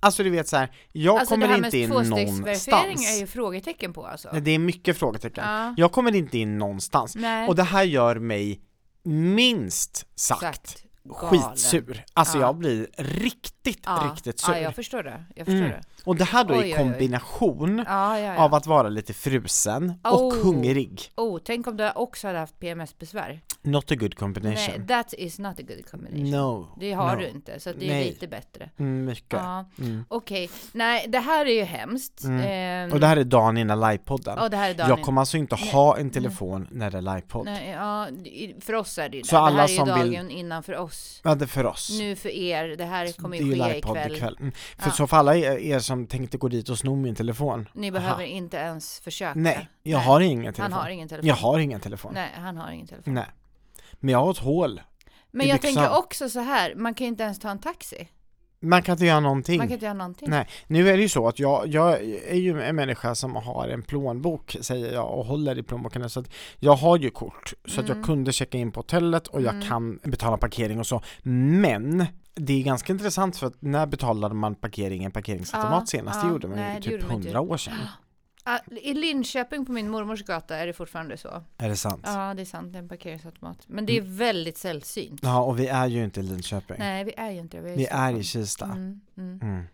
[SPEAKER 2] Alltså du vet så här, jag
[SPEAKER 1] Alltså det
[SPEAKER 2] kommer
[SPEAKER 1] här med
[SPEAKER 2] inte in
[SPEAKER 1] tvåstegsverifiering är
[SPEAKER 2] någonstans.
[SPEAKER 1] ju frågetecken på alltså.
[SPEAKER 2] Nej, Det är mycket frågetecken.
[SPEAKER 1] Ja.
[SPEAKER 2] Jag kommer inte in någonstans.
[SPEAKER 1] Nej.
[SPEAKER 2] Och det här gör mig minst sagt,
[SPEAKER 1] Exakt. Galen.
[SPEAKER 2] skitsur. Alltså
[SPEAKER 1] Ja.
[SPEAKER 2] jag blir riktigt,
[SPEAKER 1] Ja.
[SPEAKER 2] riktigt sur.
[SPEAKER 1] Ja, jag förstår det. Jag förstår
[SPEAKER 2] Mm.
[SPEAKER 1] det.
[SPEAKER 2] Och det här då
[SPEAKER 1] Oj, oj,
[SPEAKER 2] i
[SPEAKER 1] oj.
[SPEAKER 2] kombination
[SPEAKER 1] Ja, ja, ja.
[SPEAKER 2] av att vara lite frusen och
[SPEAKER 1] Oh.
[SPEAKER 2] hungrig.
[SPEAKER 1] Oh, tänk om du också hade haft PMS-besvär.
[SPEAKER 2] Not a good
[SPEAKER 1] Nej,
[SPEAKER 2] combination.
[SPEAKER 1] that is not a good combination.
[SPEAKER 2] no.
[SPEAKER 1] Det har
[SPEAKER 2] no.
[SPEAKER 1] du inte, så att det är
[SPEAKER 2] Nej.
[SPEAKER 1] lite bättre.
[SPEAKER 2] Mm, mycket.
[SPEAKER 1] Ja,
[SPEAKER 2] Mm.
[SPEAKER 1] okej. Nej, det här är ju hemskt. Ehm,
[SPEAKER 2] Och det här är dagen innan livepodden.
[SPEAKER 1] ja, det här är Daniel.
[SPEAKER 2] Jag kommer alltså inte ha en telefon när det är livepodd.
[SPEAKER 1] Nej, ja, i- för oss är det ju det.
[SPEAKER 2] Så alla
[SPEAKER 1] det här är ju
[SPEAKER 2] som vill-
[SPEAKER 1] dagen innan för oss.
[SPEAKER 2] Ja, det är för oss.
[SPEAKER 1] Nu för er, det här
[SPEAKER 2] det
[SPEAKER 1] kommer
[SPEAKER 2] är ju
[SPEAKER 1] ju ske
[SPEAKER 2] livepodd
[SPEAKER 1] ikväll.
[SPEAKER 2] ikväll. Mm. För så för alla er, er som tänkte gå dit och sno min telefon.
[SPEAKER 1] Ni behöver inte ens försöka.
[SPEAKER 2] Nej, jag
[SPEAKER 1] Nej,
[SPEAKER 2] har ingen telefon.
[SPEAKER 1] Han har ingen telefon.
[SPEAKER 2] Jag har ingen Mm, telefon. Nej.
[SPEAKER 1] Nej, han har ingen telefon.
[SPEAKER 2] Men jag har ett hål.
[SPEAKER 1] Men
[SPEAKER 2] i
[SPEAKER 1] jag
[SPEAKER 2] byxan.
[SPEAKER 1] tänker också så här, man kan ju inte ens ta en taxi.
[SPEAKER 2] Man kan inte göra någonting.
[SPEAKER 1] Man kan inte göra någonting.
[SPEAKER 2] Nej, nu är det ju så att jag, jag är ju en människa som har en plånbok säger jag och håller i plånboken så att jag har ju kort så att
[SPEAKER 1] Mm.
[SPEAKER 2] jag kunde checka in på hotellet och jag kan betala parkering och så men det är ganska intressant för att när betalade man parkering i en parkeringsautomat
[SPEAKER 1] Ja,
[SPEAKER 2] senast?
[SPEAKER 1] ja,
[SPEAKER 2] det gjorde man
[SPEAKER 1] nej,
[SPEAKER 2] ju
[SPEAKER 1] det
[SPEAKER 2] typ
[SPEAKER 1] gjorde man inte.
[SPEAKER 2] hundra år sedan.
[SPEAKER 1] Ah, I Linköping på min mormors gata är det fortfarande så.
[SPEAKER 2] Är det sant? Ja.
[SPEAKER 1] Ja, det är sant, det är en parkeringsautomat. Men det är
[SPEAKER 2] Mm.
[SPEAKER 1] väldigt sällsynt.
[SPEAKER 2] och vi är ju inte i Linköping.
[SPEAKER 1] Nej, vi är ju inte det.
[SPEAKER 2] vi är i
[SPEAKER 1] Stockholm.
[SPEAKER 2] Kista.
[SPEAKER 1] Mm, mm.
[SPEAKER 2] Mm.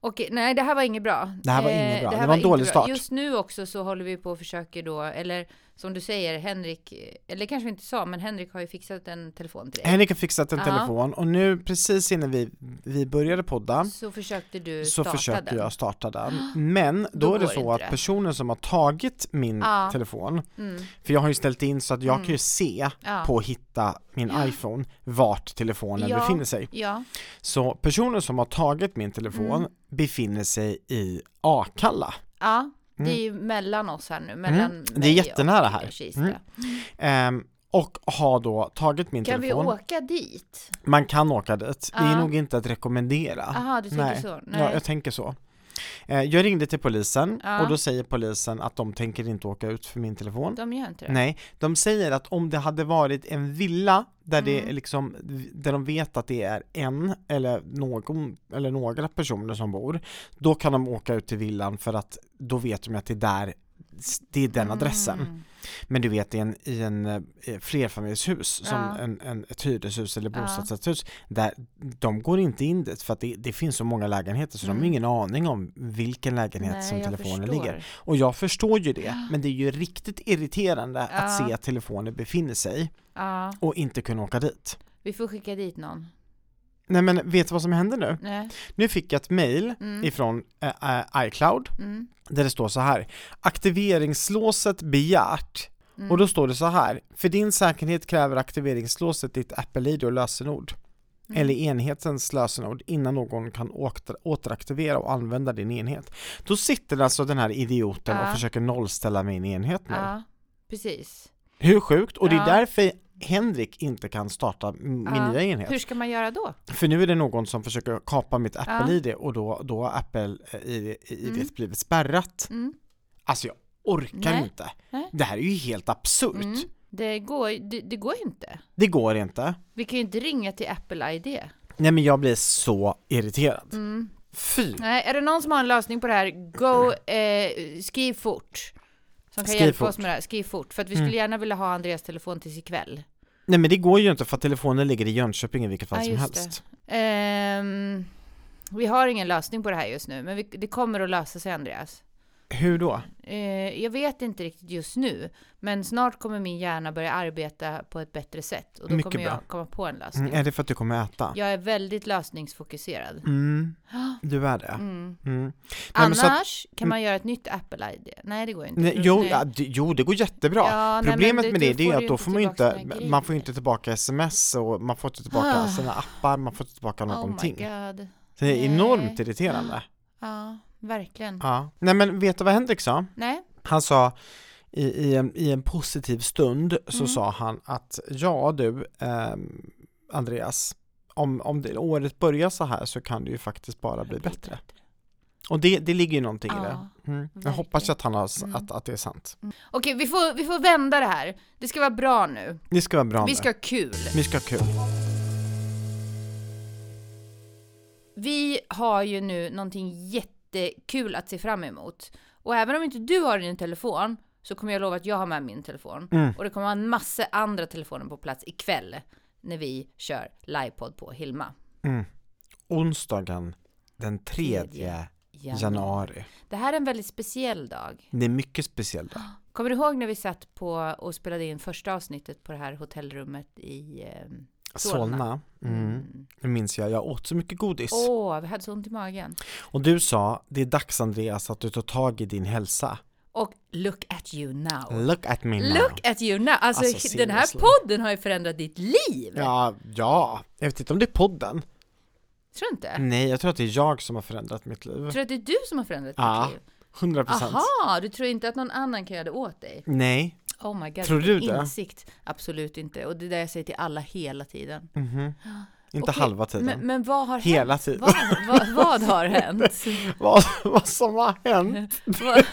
[SPEAKER 1] Okej, nej det här var inget bra. Eh,
[SPEAKER 2] Det här var inget bra. Det var en
[SPEAKER 1] inte
[SPEAKER 2] dålig
[SPEAKER 1] bra.
[SPEAKER 2] start.
[SPEAKER 1] Just nu också så håller vi på och försöker då, eller som du säger, Henrik, eller kanske vi inte sa, men Henrik har ju fixat en telefon till dig.
[SPEAKER 2] Henrik har fixat en
[SPEAKER 1] Ja.
[SPEAKER 2] telefon och nu precis innan vi, vi började podda
[SPEAKER 1] Så försökte du
[SPEAKER 2] så
[SPEAKER 1] starta
[SPEAKER 2] försöker
[SPEAKER 1] den.
[SPEAKER 2] jag starta den. Men då,
[SPEAKER 1] Då
[SPEAKER 2] är det
[SPEAKER 1] går
[SPEAKER 2] så
[SPEAKER 1] inte
[SPEAKER 2] att
[SPEAKER 1] det.
[SPEAKER 2] personen som har tagit min
[SPEAKER 1] Ja.
[SPEAKER 2] telefon,
[SPEAKER 1] Mm.
[SPEAKER 2] för jag har ju ställt in så att jag kan ju se
[SPEAKER 1] Ja.
[SPEAKER 2] på att hitta min iPhone vart telefonen
[SPEAKER 1] Ja.
[SPEAKER 2] befinner sig.
[SPEAKER 1] Ja,
[SPEAKER 2] Så personen som har tagit min telefon
[SPEAKER 1] Mm.
[SPEAKER 2] befinner sig i Akalla.
[SPEAKER 1] ja. Det är ju mellan oss här nu, mellan
[SPEAKER 2] Mm. Det är
[SPEAKER 1] mig och
[SPEAKER 2] jättenära här.
[SPEAKER 1] Kista.
[SPEAKER 2] Mm. Ehm, och har då tagit min
[SPEAKER 1] Kan vi
[SPEAKER 2] telefon.
[SPEAKER 1] åka dit?
[SPEAKER 2] Man kan åka dit. Det är
[SPEAKER 1] Ja.
[SPEAKER 2] nog inte att rekommendera.
[SPEAKER 1] Jaha, du tänker
[SPEAKER 2] Ah, Nej.
[SPEAKER 1] så?
[SPEAKER 2] Ja, jag tänker så. Eh, Jag ringde till polisen
[SPEAKER 1] Ja.
[SPEAKER 2] och då säger polisen att de tänker inte åka ut för min telefon.
[SPEAKER 1] De gör inte det?
[SPEAKER 2] Nej, de säger att om det hade varit en villa där det
[SPEAKER 1] Mm.
[SPEAKER 2] är liksom, där de vet att det är en eller någon eller några personer som bor, då kan de åka ut till villan för att då vet de att det är där, det är den adressen.
[SPEAKER 1] Mm.
[SPEAKER 2] Men du vet i en, i en eh, flerfamiljshus som
[SPEAKER 1] Ja.
[SPEAKER 2] en, en, ett hyreshus eller
[SPEAKER 1] Ja.
[SPEAKER 2] bostadsrättshus, där de går inte in dit för att det, det finns så många lägenheter så de har
[SPEAKER 1] Mm.
[SPEAKER 2] ingen aning om vilken lägenhet
[SPEAKER 1] Nej,
[SPEAKER 2] som
[SPEAKER 1] jag
[SPEAKER 2] telefonen
[SPEAKER 1] förstår.
[SPEAKER 2] ligger. Och jag förstår ju det, men det är ju riktigt irriterande att
[SPEAKER 1] Ja.
[SPEAKER 2] se att telefonen befinner sig
[SPEAKER 1] Ja,
[SPEAKER 2] och inte kunna åka dit.
[SPEAKER 1] vi får skicka dit någon.
[SPEAKER 2] Nej men vet du vad som händer nu?
[SPEAKER 1] Nej.
[SPEAKER 2] Nu fick jag ett mail
[SPEAKER 1] Mm.
[SPEAKER 2] ifrån eh, eh, iCloud
[SPEAKER 1] Mm.
[SPEAKER 2] där det står så här Aktiveringslåset begärt
[SPEAKER 1] Mm.
[SPEAKER 2] Och då står det så här, för din säkerhet kräver aktiveringslåset ditt Apple-id och lösenord
[SPEAKER 1] Mm.
[SPEAKER 2] eller enhetens lösenord innan någon kan åter- återaktivera och använda din enhet. Då sitter alltså den här idioten
[SPEAKER 1] Ja.
[SPEAKER 2] och försöker nollställa min enhet nu.
[SPEAKER 1] Ja, precis.
[SPEAKER 2] Hur sjukt? Och det
[SPEAKER 1] Ja.
[SPEAKER 2] är därför Henrik inte kan starta m- min
[SPEAKER 1] Ja.
[SPEAKER 2] nya enhet.
[SPEAKER 1] Hur ska man göra då?
[SPEAKER 2] För nu är det någon som försöker kapa mitt Apple-id och då, då har eh, Apple-idet
[SPEAKER 1] Mm.
[SPEAKER 2] blivit spärrat.
[SPEAKER 1] Mm.
[SPEAKER 2] Alltså jag orkar
[SPEAKER 1] Nej.
[SPEAKER 2] inte.
[SPEAKER 1] Nej.
[SPEAKER 2] Det här är ju helt absurt.
[SPEAKER 1] Mm. Det, går, det, det går ju inte.
[SPEAKER 2] Det går inte.
[SPEAKER 1] Vi kan ju inte ringa till Apple ID.
[SPEAKER 2] Nej men jag blir så irriterad.
[SPEAKER 1] Mm.
[SPEAKER 2] Fy!
[SPEAKER 1] Nej, är det någon som har en lösning på det här, go, eh, skriv fort. Som kan
[SPEAKER 2] Skriv
[SPEAKER 1] hjälpa
[SPEAKER 2] fort. Mm.
[SPEAKER 1] oss med det här, skriv fort. För att vi skulle gärna vilja ha Andreas telefon tills ikväll.
[SPEAKER 2] Nej men det går ju inte för att telefonen ligger i Jönköping i vilket fall
[SPEAKER 1] Ja,
[SPEAKER 2] som
[SPEAKER 1] just
[SPEAKER 2] helst.
[SPEAKER 1] Ehm, vi har ingen lösning på det här just nu, men vi, det kommer att lösa sig Andreas.
[SPEAKER 2] Hur då?
[SPEAKER 1] Eh, jag vet inte riktigt just nu, men snart kommer min hjärna börja arbeta på ett bättre sätt. Och då
[SPEAKER 2] Mycket
[SPEAKER 1] kommer jag
[SPEAKER 2] bra.
[SPEAKER 1] komma på en lösning.
[SPEAKER 2] Mm, är det för att du kommer äta?
[SPEAKER 1] Jag är väldigt lösningsfokuserad.
[SPEAKER 2] Mm,
[SPEAKER 1] Ah,
[SPEAKER 2] du är det.
[SPEAKER 1] Mm.
[SPEAKER 2] Mm. Nej, men så att- Mm.
[SPEAKER 1] Annars kan man göra ett nytt Apple ID. Nej, det går inte.
[SPEAKER 2] nej,
[SPEAKER 1] Då-
[SPEAKER 2] jo,
[SPEAKER 1] nej.
[SPEAKER 2] ja, det- jo, det går jättebra.
[SPEAKER 1] Ja, nej, men
[SPEAKER 2] Problemet
[SPEAKER 1] du-
[SPEAKER 2] med
[SPEAKER 1] du
[SPEAKER 2] det, det
[SPEAKER 1] får
[SPEAKER 2] är ju
[SPEAKER 1] ju
[SPEAKER 2] att då
[SPEAKER 1] inte
[SPEAKER 2] får man ju
[SPEAKER 1] tillbaka
[SPEAKER 2] inte,
[SPEAKER 1] sina grejer.
[SPEAKER 2] man får ju inte tillbaka sms och man får inte tillbaka
[SPEAKER 1] Ah.
[SPEAKER 2] sina appar, man får inte tillbaka någonting.
[SPEAKER 1] Oh my god.
[SPEAKER 2] Så det är enormt
[SPEAKER 1] Nej.
[SPEAKER 2] irriterande.
[SPEAKER 1] Ja, verkligen.
[SPEAKER 2] Ja. Nej men vet du vad Henrik sa?
[SPEAKER 1] Nej.
[SPEAKER 2] Han sa i, i, en, i en positiv stund så
[SPEAKER 1] Mm.
[SPEAKER 2] sa han att ja du ehm, Andreas, om, om det, året börjar så här så kan det ju faktiskt bara bli bättre. Och det, det ligger ju någonting i
[SPEAKER 1] Ja,
[SPEAKER 2] det. Mm. Jag
[SPEAKER 1] verkligen. Mm.
[SPEAKER 2] hoppas att, han har, s- att, att det är sant.
[SPEAKER 1] Okej, vi får, vi får vända det här. Det ska vara bra nu.
[SPEAKER 2] Det ska vara bra
[SPEAKER 1] Vi
[SPEAKER 2] nu.
[SPEAKER 1] ska ha kul.
[SPEAKER 2] Vi ska ha kul.
[SPEAKER 1] Vi har ju nu någonting jättekul att se fram emot. Och även om inte du har din telefon så kommer jag lova att jag har med min telefon.
[SPEAKER 2] Mm.
[SPEAKER 1] Och det kommer vara en massa andra telefoner på plats ikväll när vi kör livepodd på Hilma.
[SPEAKER 2] Mm. Onsdagen den 3
[SPEAKER 1] Tredje
[SPEAKER 2] januari.
[SPEAKER 1] Det här är en väldigt speciell dag.
[SPEAKER 2] Det är mycket speciellt.
[SPEAKER 1] Kommer du ihåg när vi satt på och spelade in första avsnittet på det här hotellrummet i... eh, Solna.
[SPEAKER 2] Solna, mm. det minns jag. Jag åt så mycket godis.
[SPEAKER 1] Åh, vi hade så ont i magen.
[SPEAKER 2] Och du sa, det är dags Andreas att du tar tag i din hälsa.
[SPEAKER 1] Och look at you now.
[SPEAKER 2] Look at me now.
[SPEAKER 1] Look at you now. Alltså,
[SPEAKER 2] Mm. Alltså,
[SPEAKER 1] den här
[SPEAKER 2] seriously.
[SPEAKER 1] podden har ju förändrat ditt liv.
[SPEAKER 2] Ja, ja. Jag vet inte om det är podden.
[SPEAKER 1] Tror du inte?
[SPEAKER 2] Nej, jag tror att det är jag som har förändrat mitt liv.
[SPEAKER 1] Tror du att det är du som har förändrat
[SPEAKER 2] Ja,
[SPEAKER 1] ditt liv?
[SPEAKER 2] 100 procent.
[SPEAKER 1] Aha, du tror inte att någon annan kan göra det åt dig?
[SPEAKER 2] Nej.
[SPEAKER 1] Oh my god,
[SPEAKER 2] Tror du
[SPEAKER 1] vilken
[SPEAKER 2] det?
[SPEAKER 1] insikt. Absolut inte. Och det är det jag säger till alla hela tiden.
[SPEAKER 2] Mhm. Inte
[SPEAKER 1] Okej,
[SPEAKER 2] halva tiden.
[SPEAKER 1] Men, men vad har hänt?
[SPEAKER 2] Hela tiden.
[SPEAKER 1] Vad, vad, vad har hänt?
[SPEAKER 2] Vad, vad som har hänt.
[SPEAKER 1] Vad-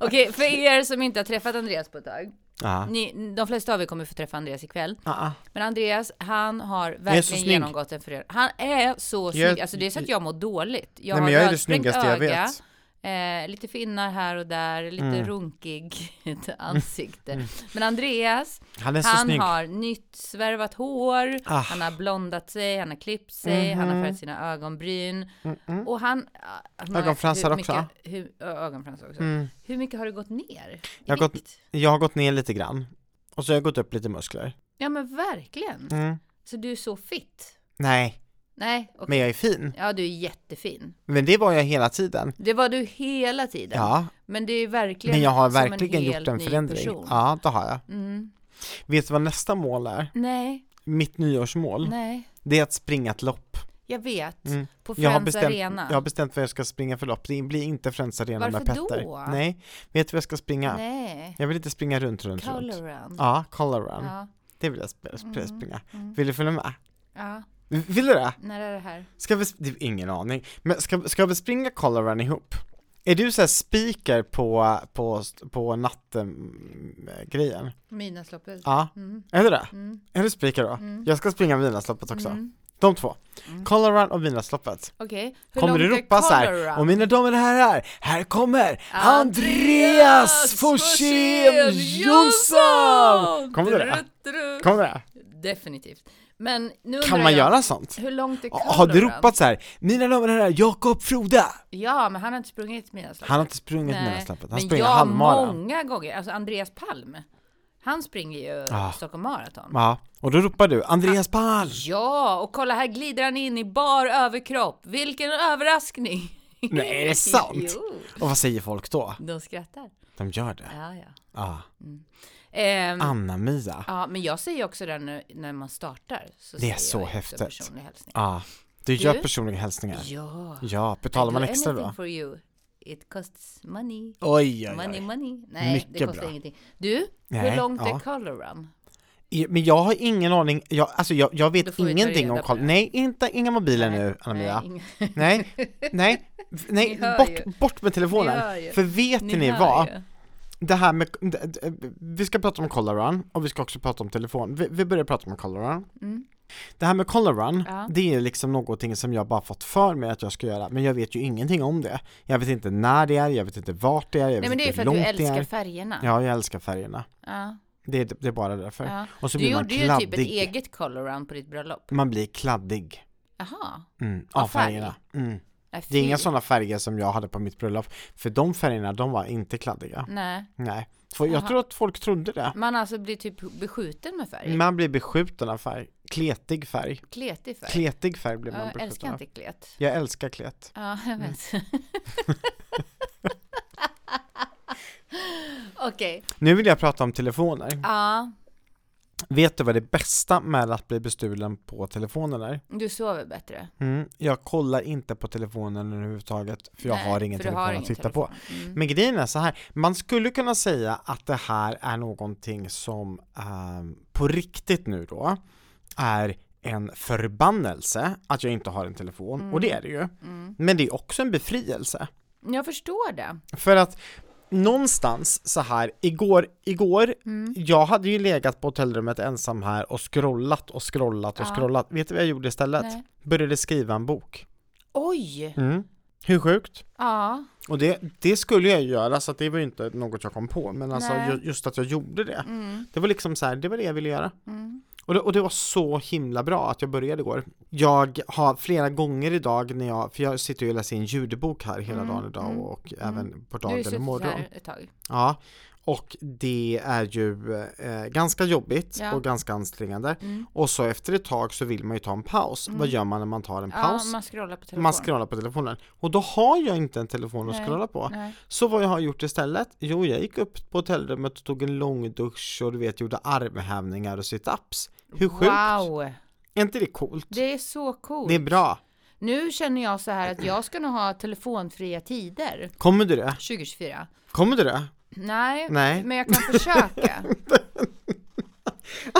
[SPEAKER 1] Okej, för er som inte har träffat Andreas på ett tag.
[SPEAKER 2] Ja.
[SPEAKER 1] Ni, de flesta av er kommer få träffa Andreas ikväll.
[SPEAKER 2] Ah, ah.
[SPEAKER 1] Men Andreas, han har
[SPEAKER 2] så
[SPEAKER 1] verkligen
[SPEAKER 2] snygg.
[SPEAKER 1] genomgått en förändring. Han är så snygg. alltså det är så att jag mår dåligt. Jag
[SPEAKER 2] Nej,
[SPEAKER 1] har
[SPEAKER 2] men jag är det
[SPEAKER 1] rödsprängt
[SPEAKER 2] snyggaste jag
[SPEAKER 1] öga,
[SPEAKER 2] vet.
[SPEAKER 1] Eh, lite finnar här och där, lite
[SPEAKER 2] Mm.
[SPEAKER 1] runkigt ansikte. Men Andreas,
[SPEAKER 2] Han Mm. är så
[SPEAKER 1] han
[SPEAKER 2] snygg.
[SPEAKER 1] har nytt svärvat hår,
[SPEAKER 2] Ah. Mhm.
[SPEAKER 1] han har blondat sig, han har klippt sig, han har färgat sina ögonbryn.
[SPEAKER 2] Mm,
[SPEAKER 1] Och han... ah, han har-
[SPEAKER 2] Ögonfransar
[SPEAKER 1] hur
[SPEAKER 2] också.
[SPEAKER 1] mycket- Hur, ö, ögonfransar också. Hur mycket har det gått ner? i
[SPEAKER 2] Jag har gått-
[SPEAKER 1] vikt?
[SPEAKER 2] mm. Jag har gått ner lite grann. Och så har jag gått upp lite muskler.
[SPEAKER 1] Ja men verkligen.
[SPEAKER 2] Mm.
[SPEAKER 1] Så du är så fit.
[SPEAKER 2] Nej,
[SPEAKER 1] Nej, okej.
[SPEAKER 2] men jag är fin.
[SPEAKER 1] Ja, du är jättefin.
[SPEAKER 2] Men det var jag hela tiden.
[SPEAKER 1] Det var du hela tiden.
[SPEAKER 2] Ja,
[SPEAKER 1] Men det är verkligen
[SPEAKER 2] men jag har
[SPEAKER 1] som
[SPEAKER 2] verkligen
[SPEAKER 1] helt
[SPEAKER 2] gjort en
[SPEAKER 1] ny
[SPEAKER 2] förändring.
[SPEAKER 1] person.
[SPEAKER 2] Ja, det har jag.
[SPEAKER 1] Mm.
[SPEAKER 2] Vet du vad nästa mål är?
[SPEAKER 1] Nej,
[SPEAKER 2] Mitt nyårsmål?
[SPEAKER 1] nej.
[SPEAKER 2] Det är att springa ett lopp.
[SPEAKER 1] Jag vet.
[SPEAKER 2] Mm.
[SPEAKER 1] På
[SPEAKER 2] Jag har,
[SPEAKER 1] Friends
[SPEAKER 2] bestämt,
[SPEAKER 1] Arena.
[SPEAKER 2] jag har bestämt vad jag ska springa för lopp, det blir inte Friends Arena med
[SPEAKER 1] Varför
[SPEAKER 2] Petter.
[SPEAKER 1] då?
[SPEAKER 2] Nej, vet du vad jag ska springa?
[SPEAKER 1] Nej.
[SPEAKER 2] Jag vill inte springa runt, runt, runt.
[SPEAKER 1] Coloran.
[SPEAKER 2] Ja, color run.
[SPEAKER 1] Ja.
[SPEAKER 2] Det vill jag sp- sp-
[SPEAKER 1] Mm,
[SPEAKER 2] springa.
[SPEAKER 1] mm.
[SPEAKER 2] Vill du följa med?
[SPEAKER 1] ja.
[SPEAKER 2] Vill du det?
[SPEAKER 1] När är det här?
[SPEAKER 2] Ska vi, sp- det är ingen aning, men ska, ska vi springa color run ihop? Är du så här speaker på, på, på natten-grejen?
[SPEAKER 1] Midnattsloppet?
[SPEAKER 2] Ja,
[SPEAKER 1] Mm.
[SPEAKER 2] är du det?
[SPEAKER 1] Mm.
[SPEAKER 2] Är du speaker då?
[SPEAKER 1] Mm.
[SPEAKER 2] Jag ska springa Midnattsloppet också.
[SPEAKER 1] Mm.
[SPEAKER 2] De två.
[SPEAKER 1] Mm.
[SPEAKER 2] Color run och Midnattsloppet.
[SPEAKER 1] Okej. Hur
[SPEAKER 2] Kommer du
[SPEAKER 1] långt är
[SPEAKER 2] ropa så
[SPEAKER 1] Coloran?
[SPEAKER 2] här, och mina damer och herrar, här kommer
[SPEAKER 1] Andreas
[SPEAKER 2] Andreas Forsén Jonsson! Kommer du det?
[SPEAKER 1] Druttrut.
[SPEAKER 2] Kommer det?
[SPEAKER 1] Definitivt. Men nu
[SPEAKER 2] Kan
[SPEAKER 1] undrar
[SPEAKER 2] man
[SPEAKER 1] jag,
[SPEAKER 2] göra sånt?
[SPEAKER 1] Hur långt är Coloran?
[SPEAKER 2] Har du ropat så här, mina damer och herrar, Jakob Froda!
[SPEAKER 1] Ja, men han har inte sprungit Midnattsloppet.
[SPEAKER 2] Han har inte sprungit
[SPEAKER 1] Nej,
[SPEAKER 2] Midnattsloppet, han
[SPEAKER 1] men
[SPEAKER 2] springer
[SPEAKER 1] jag
[SPEAKER 2] halvmaran.
[SPEAKER 1] många gånger, alltså Andreas Palm, han springer ju
[SPEAKER 2] Ah.
[SPEAKER 1] Stockholm Marathon.
[SPEAKER 2] Ja, och då ropar du, Andreas Palm!
[SPEAKER 1] Ja, och kolla här glider han in i bar överkropp. Vilken överraskning!
[SPEAKER 2] Nej, är det sant?
[SPEAKER 1] jo,
[SPEAKER 2] Och vad säger folk då?
[SPEAKER 1] de skrattar.
[SPEAKER 2] De gör det.
[SPEAKER 1] Ja, ja.
[SPEAKER 2] Ja.
[SPEAKER 1] Ehm,
[SPEAKER 2] Ah. Anna-Mia.
[SPEAKER 1] ja, men jag säger också det nu när man startar. Så
[SPEAKER 2] Det är
[SPEAKER 1] säger
[SPEAKER 2] så
[SPEAKER 1] jag också
[SPEAKER 2] häftigt.
[SPEAKER 1] personlig hälsning.
[SPEAKER 2] Ja. Du gör
[SPEAKER 1] Du?
[SPEAKER 2] personliga hälsningar.
[SPEAKER 1] Ja.
[SPEAKER 2] Ja, betalar
[SPEAKER 1] I
[SPEAKER 2] man
[SPEAKER 1] do
[SPEAKER 2] extra
[SPEAKER 1] anything
[SPEAKER 2] då?
[SPEAKER 1] for you. It costs money.
[SPEAKER 2] Oj, oj,
[SPEAKER 1] Money,
[SPEAKER 2] oj.
[SPEAKER 1] money. Nej, det
[SPEAKER 2] Mycket
[SPEAKER 1] kostar
[SPEAKER 2] bra.
[SPEAKER 1] ingenting. Du,
[SPEAKER 2] Nej,
[SPEAKER 1] hur långt
[SPEAKER 2] ja.
[SPEAKER 1] är Color Run?
[SPEAKER 2] I- Men jag har ingen aning, jag, alltså jag, jag
[SPEAKER 1] Då
[SPEAKER 2] vet
[SPEAKER 1] får vi ta
[SPEAKER 2] ingenting
[SPEAKER 1] reda
[SPEAKER 2] om
[SPEAKER 1] på
[SPEAKER 2] Karl.
[SPEAKER 1] det.
[SPEAKER 2] Nej, inte, inga mobiler nu Anna-Mia.
[SPEAKER 1] Nej, inga-
[SPEAKER 2] Nej, nej, f- nej,
[SPEAKER 1] Ni hör ju.
[SPEAKER 2] bort, bort med
[SPEAKER 1] Ni
[SPEAKER 2] telefonen.
[SPEAKER 1] hör ju.
[SPEAKER 2] För vet ni,
[SPEAKER 1] hör
[SPEAKER 2] vad?
[SPEAKER 1] ju.
[SPEAKER 2] Det här med, d- d- vi ska prata om Color Run och vi ska också prata om telefon. Vi, vi börjar prata om Color Run.
[SPEAKER 1] Mm.
[SPEAKER 2] Det här med Color Run,
[SPEAKER 1] Ja.
[SPEAKER 2] det är liksom någonting som jag bara fått för mig att jag ska göra, men jag vet ju ingenting om det. Jag vet inte när det är, jag vet inte vart det är, jag
[SPEAKER 1] Nej
[SPEAKER 2] vet
[SPEAKER 1] men det är ju
[SPEAKER 2] inte
[SPEAKER 1] för
[SPEAKER 2] hur
[SPEAKER 1] att du
[SPEAKER 2] långt det
[SPEAKER 1] älskar
[SPEAKER 2] är.
[SPEAKER 1] färgerna.
[SPEAKER 2] Ja, jag älskar färgerna.
[SPEAKER 1] Ja,
[SPEAKER 2] Det är, det är bara därför.
[SPEAKER 1] ja.
[SPEAKER 2] Och så
[SPEAKER 1] Du
[SPEAKER 2] blir man
[SPEAKER 1] gjorde ju typ ett
[SPEAKER 2] kladdig.
[SPEAKER 1] eget color round på ditt bröllop.
[SPEAKER 2] Man blir kladdig.
[SPEAKER 1] Jaha.
[SPEAKER 2] Mm,
[SPEAKER 1] Av
[SPEAKER 2] av färgerna. Mm.
[SPEAKER 1] Nej,
[SPEAKER 2] Det är inga
[SPEAKER 1] fy.
[SPEAKER 2] sådana färger som jag hade på mitt bröllop, för de färgerna de var inte kladdiga.
[SPEAKER 1] Nej.
[SPEAKER 2] Nej, för jag
[SPEAKER 1] Jaha.
[SPEAKER 2] tror att folk trodde det.
[SPEAKER 1] Man alltså blir typ beskjuten med färg.
[SPEAKER 2] Man blir beskjuten av färg. Kletig färg.
[SPEAKER 1] Kletig färg.
[SPEAKER 2] Kletig färg blir
[SPEAKER 1] Ja,
[SPEAKER 2] man
[SPEAKER 1] jag älskar
[SPEAKER 2] beskjuten av. Mm.
[SPEAKER 1] inte klet.
[SPEAKER 2] Jag älskar klet.
[SPEAKER 1] Ja, jag vet. Okej.
[SPEAKER 2] Nu vill jag prata om telefoner.
[SPEAKER 1] Ja,
[SPEAKER 2] Vet du vad det bästa med att bli bestulen på telefonen är?
[SPEAKER 1] du sover bättre.
[SPEAKER 2] Mm. Jag kollar inte på telefonen överhuvudtaget, för jag
[SPEAKER 1] Nej,
[SPEAKER 2] har ingen
[SPEAKER 1] för du
[SPEAKER 2] telefon
[SPEAKER 1] har
[SPEAKER 2] att
[SPEAKER 1] ingen
[SPEAKER 2] titta på.
[SPEAKER 1] telefon. Mm.
[SPEAKER 2] Men grejen är så här, man skulle kunna säga att det här är någonting som ehm, på riktigt nu då är en förbannelse att jag inte har en telefon, och det är det ju.
[SPEAKER 1] Mm.
[SPEAKER 2] Men det är också en befrielse.
[SPEAKER 1] Jag förstår det.
[SPEAKER 2] För att någonstans så här, igår, igår,
[SPEAKER 1] Mm.
[SPEAKER 2] jag hade ju legat på hotellrummet ensam här och scrollat och scrollat och
[SPEAKER 1] Ja.
[SPEAKER 2] scrollat. Vet du vad jag gjorde istället?
[SPEAKER 1] Nej.
[SPEAKER 2] Började skriva en bok.
[SPEAKER 1] Oj!
[SPEAKER 2] Mm. Hur sjukt?
[SPEAKER 1] Ja.
[SPEAKER 2] Och det, det skulle jag ju göra så att det var ju inte något jag kom på men alltså
[SPEAKER 1] Nej.
[SPEAKER 2] ju, just att jag gjorde det.
[SPEAKER 1] Mm.
[SPEAKER 2] Det var liksom så här, det var det jag ville göra.
[SPEAKER 1] Mm.
[SPEAKER 2] Och det, och det var så himla bra att jag började igår. Jag har flera gånger idag när jag, för jag sitter ju och läser in ljudbok här hela
[SPEAKER 1] Mm,
[SPEAKER 2] dagen idag
[SPEAKER 1] mm,
[SPEAKER 2] och, och
[SPEAKER 1] mm.
[SPEAKER 2] även på
[SPEAKER 1] Du har ju
[SPEAKER 2] dagen
[SPEAKER 1] suttit
[SPEAKER 2] imorgon.
[SPEAKER 1] här ett tag.
[SPEAKER 2] Ja, och det är ju eh, ganska jobbigt
[SPEAKER 1] Ja.
[SPEAKER 2] och ganska ansträngande.
[SPEAKER 1] Mm.
[SPEAKER 2] Och så efter ett tag så vill man ju ta en paus.
[SPEAKER 1] Mm.
[SPEAKER 2] Vad gör man när man tar en
[SPEAKER 1] Ja,
[SPEAKER 2] paus?
[SPEAKER 1] man scrollar på telefon.
[SPEAKER 2] man scrollar på telefonen. Och då har jag inte en telefon att
[SPEAKER 1] Nej.
[SPEAKER 2] scrolla på.
[SPEAKER 1] Nej.
[SPEAKER 2] Så vad jag har gjort istället? Jo, jag gick upp på hotellrummet och tog en lång dusch och du vet, gjorde armhävningar och situps. Hur sjukt?
[SPEAKER 1] Wow!
[SPEAKER 2] Är inte det coolt?
[SPEAKER 1] Det är så coolt.
[SPEAKER 2] Det är bra.
[SPEAKER 1] Nu känner jag så här att jag ska nog ha telefonfria tider
[SPEAKER 2] Kommer du det?
[SPEAKER 1] 2024.
[SPEAKER 2] Kommer du det?
[SPEAKER 1] Nej,
[SPEAKER 2] Nej.
[SPEAKER 1] men jag kan försöka.